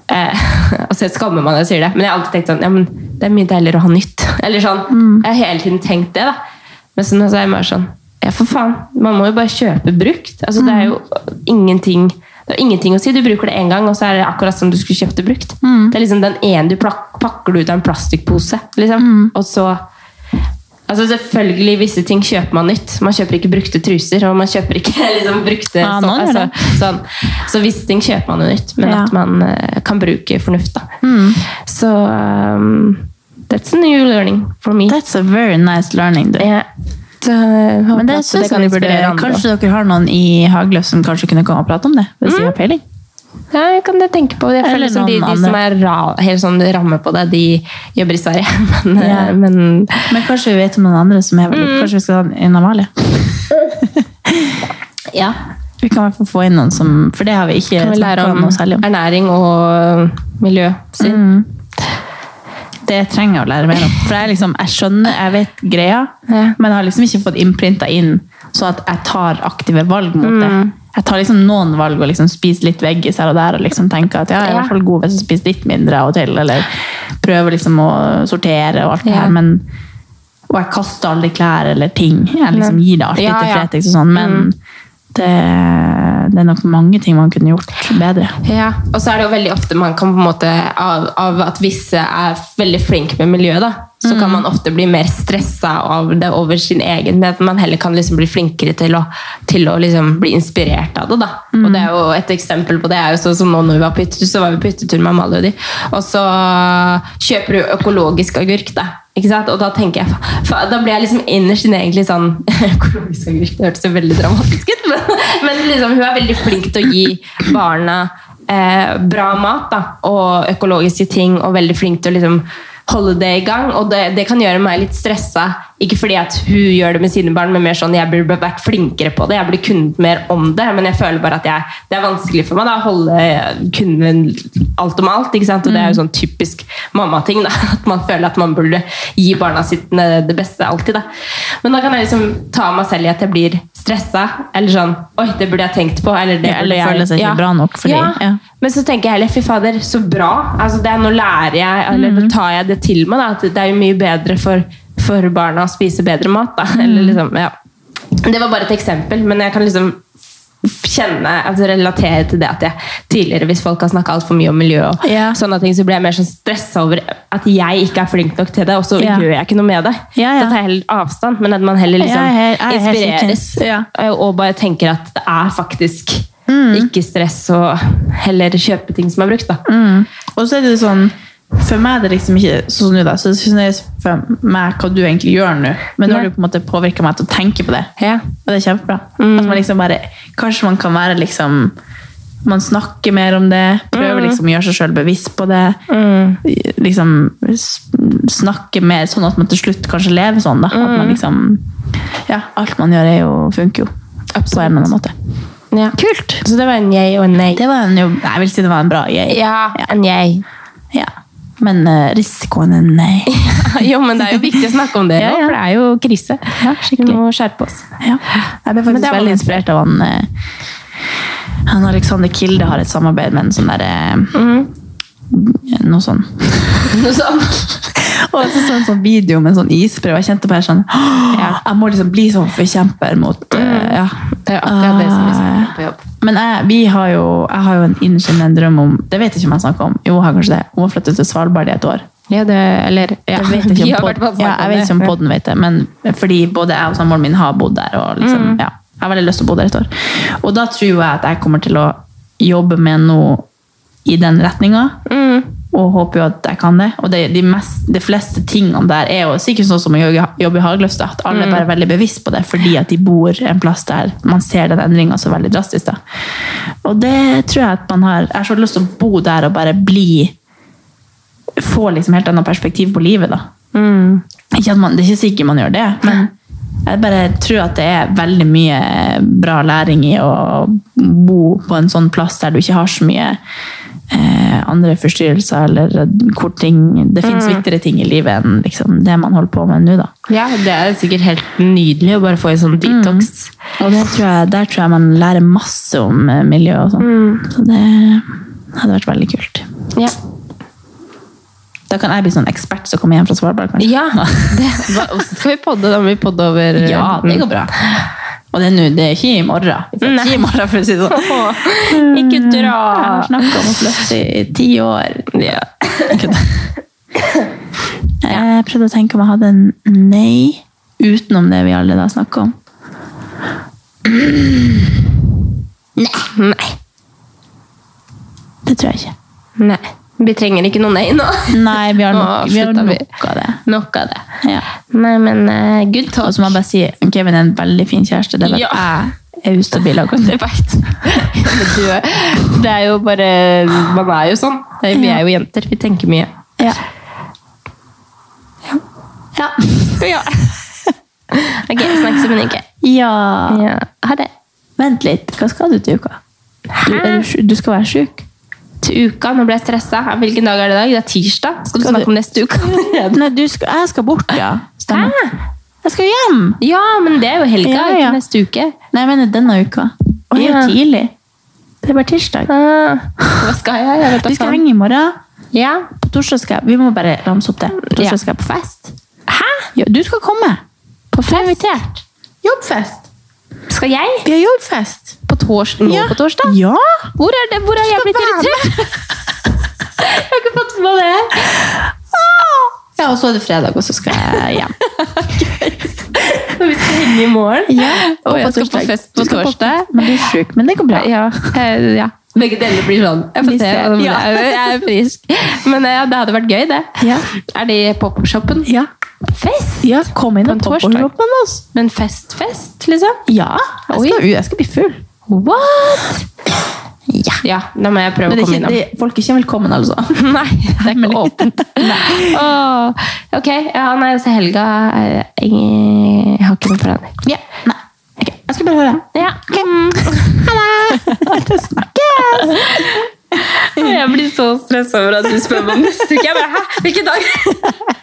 Speaker 1: eh, Altså, jeg skammer meg når jeg sier det, men jeg har alltid tenkt sånn Ja, men det er mye deiligere å ha nytt. Eller sånn.
Speaker 2: Mm.
Speaker 1: Jeg har hele tiden tenkt det, da. Men så nå så er jeg mer sånn Ja, for faen. Man må jo bare kjøpe brukt. Altså, det er jo ingenting det er ingenting å si. Du bruker det én gang, og så er det akkurat som du skulle kjøpt det brukt.
Speaker 2: Mm.
Speaker 1: Det er liksom den ene du plak pakker du ut av en plastikkpose, liksom.
Speaker 2: Mm.
Speaker 1: Og så Altså selvfølgelig, visse ting kjøper man nytt. Man kjøper ikke brukte truser, og man kjøper ikke liksom, brukte
Speaker 2: Ja, noen gjør
Speaker 1: altså,
Speaker 2: det.
Speaker 1: sånn. Så visse ting kjøper man jo nytt, men
Speaker 2: Ja.
Speaker 1: at man eh, kan bruke fornuft, da.
Speaker 2: Mm.
Speaker 1: Så um, that's a new learning for me.
Speaker 2: That's a very nice learning. Du.
Speaker 1: Ja. Så, jeg håper
Speaker 2: Men det
Speaker 1: at
Speaker 2: synes
Speaker 1: kan
Speaker 2: jeg vi burde
Speaker 1: inspirere andre også.
Speaker 2: Kanskje dere har noen i Hagløf som kanskje kunne komme og prate om det? Hvis de har peiling?
Speaker 1: Ja, jeg kan det tenke på. Jeg føler
Speaker 2: Eller
Speaker 1: liksom de,
Speaker 2: noen
Speaker 1: de som er ra, helt sånn ramme på det, de jobber i Sverige. Men, eh,
Speaker 2: Ja.
Speaker 1: men
Speaker 2: Men kanskje vi vet om noen andre som er veldig Kanskje vi skal ha inn Amalie?
Speaker 1: ja,
Speaker 2: Vi kan i hvert fall få inn noen som For det har vi ikke
Speaker 1: kan vi lære
Speaker 2: snakket
Speaker 1: om
Speaker 2: noe særlig om.
Speaker 1: ernæring og miljø. sin.
Speaker 2: Det trenger jeg å lære mer om. For jeg, liksom, jeg skjønner, jeg vet greia,
Speaker 1: Ja.
Speaker 2: men jeg har liksom ikke fått innprinta inn sånn at jeg tar aktive valg mot det.
Speaker 1: Mm.
Speaker 2: Jeg tar liksom noen valg og liksom spiser litt veggis her og der og liksom tenker at ja, jeg er i
Speaker 1: Ja.
Speaker 2: hvert fall god hvis jeg spiser litt mindre av og til, eller prøver liksom å sortere og alt det
Speaker 1: Ja.
Speaker 2: her, men og jeg kaster aldri klær eller ting. Jeg liksom
Speaker 1: Nei.
Speaker 2: gir det alltid
Speaker 1: Ja,
Speaker 2: til
Speaker 1: ja. Mm.
Speaker 2: Fretex og sånn, men det, det er nok mange ting man kunne gjort bedre.
Speaker 1: Ja, og så er det jo veldig ofte man kan på en måte av, av at visse er veldig flink med miljøet, da, så kan man ofte bli mer stressa av det over sin egen, men at man heller kan liksom bli flinkere til å, til å liksom bli inspirert av det. da. Og det er jo Et eksempel på det er jo sånn som nå når vi var på hyttetur, så var vi på hyttetur med Amalie og de, og så kjøper du økologisk agurk. da. Ikke sant? Og da tenker jeg, fa- da blir jeg liksom innerst inne egentlig sånn Økologisk agurk, det hørtes jo veldig dramatisk ut, men, men liksom, hun er veldig flink til å gi barna eh, bra mat da, og økologiske ting, og veldig flink til å liksom holde det i gang. Og det, det kan gjøre meg litt stressa, ikke fordi at hun gjør det med sine barn, men mer sånn jeg burde vært flinkere på det, jeg burde kunnet mer om det, men jeg føler bare at jeg, det er vanskelig for meg da, å holde kunden alt om alt, ikke sant? og
Speaker 2: Mm.
Speaker 1: det er jo sånn typisk mammating, da, at man føler at man burde gi barna sitt eh, det beste alltid. Da. Men da kan jeg liksom ta meg selv i at jeg blir stressa, eller sånn, oi, det burde jeg tenkt på, eller det
Speaker 2: Ja, eller
Speaker 1: burde jeg...
Speaker 2: føler seg ikke bra nok, fordi-
Speaker 1: ja.
Speaker 2: ja.
Speaker 1: Men så tenker jeg heller, fy fader, så bra. Altså, det er, nå lærer jeg, eller
Speaker 2: Mhm.
Speaker 1: nå tar jeg det til meg, da, at det er jo mye bedre for, for barna å spise bedre mat. Da.
Speaker 2: Mhm.
Speaker 1: Eller, liksom, ja. Det var bare et eksempel, men jeg kan liksom f- kjenne, altså relatere til det at jeg tidligere, hvis folk har snakket alt for mye om miljø og
Speaker 2: Ja.
Speaker 1: sånne ting, så blir jeg mer sånn stresset over at jeg ikke er flink nok til det, og så
Speaker 2: Ja.
Speaker 1: gjør jeg ikke noe med det.
Speaker 2: Ja, ja.
Speaker 1: Da tar jeg heller avstand, men at man heller liksom
Speaker 2: Jeg er helt- jeg er helt
Speaker 1: inspireres
Speaker 2: enig. Ja.
Speaker 1: Eh, og bare tenker at det er faktisk ikke stress å heller kjøpe ting som er brukt. Da.
Speaker 2: Og så er det jo sånn For meg er det liksom ikke sånn som du da, så det er for meg hva du egentlig gjør nå. Men nå har
Speaker 1: Nei.
Speaker 2: du på en måte påvirka meg til å tenke på det.
Speaker 1: Ja. Mm.
Speaker 2: Og det er kjempebra. At man liksom bare, kanskje man kan være liksom Man snakker mer om det.
Speaker 1: Mm.
Speaker 2: Prøver liksom å gjøre seg sjøl bevisst på det. Liksom s- snakke mer sånn at man til slutt kanskje lever sånn, da. At
Speaker 1: Mm.
Speaker 2: man liksom Ja, alt man gjør, er jo, funker jo. På en eller annen måte.
Speaker 1: Ja. Kult! Så det var en jeg og en nei.
Speaker 2: Det var en jo Jeg vil si det var en bra jeg.
Speaker 1: Ja, en jeg.
Speaker 2: Ja. Men eh, risikoen er nei.
Speaker 1: jo, men det er jo viktig å snakke om det
Speaker 2: Ja,
Speaker 1: nå,
Speaker 2: ja.
Speaker 1: for det er jo krise.
Speaker 2: Ja,
Speaker 1: Vi
Speaker 2: skikkelig.
Speaker 1: må skjerpe oss.
Speaker 2: Ja. Jeg ble
Speaker 1: Men det
Speaker 2: faktisk
Speaker 1: var
Speaker 2: veldig
Speaker 1: ganske-
Speaker 2: inspirert av han, eh, han Alexander Kilde har et samarbeid med en sånn derre Noe sånn.
Speaker 1: Noe sånt.
Speaker 2: Og jeg så så en sånn video med en sånn isbre, og jeg kjente bare sånn «Åh, Jeg må liksom bli sånn forkjemper mot eh, Ja.
Speaker 1: Det er akkurat det som vi snakker om på jobb.
Speaker 2: Men jeg, vi har jo, jeg har jo en innerst inne en drøm om Det vet jeg ikke om jeg snakker om. Jo, jeg har kanskje det. Hun har flyttet til Svalbard i et år.
Speaker 1: Ja, det, eller ja.
Speaker 2: Jeg vet ikke
Speaker 1: Vi
Speaker 2: om,
Speaker 1: har
Speaker 2: pod-
Speaker 1: vært på å snakke
Speaker 2: ja, jeg vet ikke om
Speaker 1: det.
Speaker 2: podden vet det, men fordi både jeg og samboeren min har bodd der, og liksom,
Speaker 1: Mm.
Speaker 2: ja, jeg har veldig lyst til å bo der et år. Og da tror jeg at jeg kommer til å jobbe med noe i den retningen,
Speaker 1: Mm.
Speaker 2: og håper jo at jeg kan det. Og det, de, mest, de fleste tingene der er jo sikkert sånn som å jobbe jobbe i Hagløfstad, at alle
Speaker 1: Mm.
Speaker 2: er bare veldig bevisst på det, fordi at de bor en plass der man ser den endringen så veldig drastisk. Da. Og det tror jeg at man har, jeg har så lyst til å bo der og bare bli, få liksom helt annet perspektiv på livet da.
Speaker 1: Mm.
Speaker 2: Ikke at man, det er ikke sikkert man gjør det, men jeg bare tror at det er veldig mye bra læring i å bo på en sånn plass der du ikke har så mye eh, andre forstyrrelser, eller hvor ting Det finnes viktigere ting i livet enn liksom, det man holder på med nå, da.
Speaker 1: Ja, det er sikkert helt nydelig å bare få en sånn detox.
Speaker 2: Og det tror jeg, der tror jeg man lærer masse om eh, miljø og sånn. Så det hadde vært veldig kult.
Speaker 1: Mm. Ja.
Speaker 2: Da kan jeg bli sånn ekspert som kommer hjem fra Svalbard, kanskje.
Speaker 1: ja. Det, hva, og så skal vi podde? Da må vi podde over mm.
Speaker 2: Ja, det går bra. Og det er, nå- det er ikke i morgen. Det er ikke i morgen, for å si det sånn.
Speaker 1: Ikke
Speaker 2: Mm. Jeg har
Speaker 1: dra!
Speaker 2: snakket om å flytte i ti år.
Speaker 1: Ja.
Speaker 2: Jeg prøvde å tenke om jeg hadde en nei utenom det vi allerede har snakket om.
Speaker 1: Nei.
Speaker 2: Det tror jeg ikke.
Speaker 1: Nei. Vi trenger ikke noe nei nå.
Speaker 2: Nei, vi har
Speaker 1: Nå
Speaker 2: nok, vi har
Speaker 1: slutta vi.
Speaker 2: nok av det.
Speaker 1: Nok av det.
Speaker 2: Ja.
Speaker 1: Nei, men eh, good
Speaker 2: Og
Speaker 1: talk.
Speaker 2: så må jeg bare si Kevin er en veldig fin kjæreste. Det vet
Speaker 1: Ja.
Speaker 2: jeg er ustabil akkurat.
Speaker 1: Jeg vet. Men du, det er jo bare Man er jo sånn. Det er- Vi er jo jenter. Vi tenker mye.
Speaker 2: Ja. Ja.
Speaker 1: Ja. Ok, snakkes om en uke.
Speaker 2: ja.
Speaker 1: Ja. Ha det.
Speaker 2: Vent litt, hva skal du til uka? Du, er du, sj- du skal være syk?
Speaker 1: Til uka. Nå ble jeg stressa. Hvilken dag er det i dag? Det er tirsdag. Skal du
Speaker 2: Skal
Speaker 1: snakke
Speaker 2: du-
Speaker 1: om neste uke? allerede?
Speaker 2: Nei, du skal, jeg skal bort, ja. Stemmer. Jeg skal hjem!
Speaker 1: Ja, men det er jo helga.
Speaker 2: Ja, ja.
Speaker 1: Ikke neste uke.
Speaker 2: Nei, jeg mener denne uka. Det er jo
Speaker 1: Ja.
Speaker 2: tidlig. Det er bare tirsdag.
Speaker 1: Ah, hva skal jeg? Jeg vet da
Speaker 2: Vi skal
Speaker 1: faen.
Speaker 2: henge i morgen.
Speaker 1: Ja.
Speaker 2: På torsdag skal jeg Vi må bare ramse opp det. På
Speaker 1: Ja.
Speaker 2: torsdag skal jeg på fest. Hæ? Ja, du skal komme.
Speaker 1: På fest?
Speaker 2: Jobbfest.
Speaker 1: Skal jeg?
Speaker 2: Vi har jobbfest.
Speaker 1: På tors nå
Speaker 2: Ja.
Speaker 1: på torsdag?
Speaker 2: Ja!
Speaker 1: Hvor er det? Hvor er jeg blitt irritert? jeg har ikke fått med det.
Speaker 2: Ja, og så er det fredag, og så skal jeg hjem.
Speaker 1: Når vi skal henge i morgen. Og
Speaker 2: jeg
Speaker 1: jeg skal på fest på
Speaker 2: Du skal
Speaker 1: torsdag.
Speaker 2: Men du er sjuk, men det går bra.
Speaker 1: Ja. eh, ja. Begge deler blir sånn. Jeg får
Speaker 2: Vi
Speaker 1: se.
Speaker 2: ser.
Speaker 1: om det
Speaker 2: Ja.
Speaker 1: er- Jeg er frisk. Men eh, det hadde vært gøy, det.
Speaker 2: Ja.
Speaker 1: Er det i pop-up-shoppen?
Speaker 2: Ja.
Speaker 1: Fest?
Speaker 2: Ja, kom inn
Speaker 1: På en
Speaker 2: og pop
Speaker 1: torsdag.
Speaker 2: opp med oss.
Speaker 1: Men fest-fest, liksom?
Speaker 2: Ja. Jeg skal, jeg skal bli full.
Speaker 1: What?
Speaker 2: Ja.
Speaker 1: Ja, da må jeg prøve
Speaker 2: Men det
Speaker 1: å
Speaker 2: er
Speaker 1: komme
Speaker 2: ikke,
Speaker 1: innom.
Speaker 2: det, folk er ikke velkommen, altså.
Speaker 1: Nei, det er ikke åpent. Åh, ok, ja, nei, så helga eh, Jeg jeg har ikke noe planer.
Speaker 2: Ja. Nei. Ok, Jeg skal bare høre.
Speaker 1: Ja. Mm. Ha det! Snakkes! Jeg blir så stressa over at du spør meg om neste uke. Jeg bare, hæ? Hvilken dag?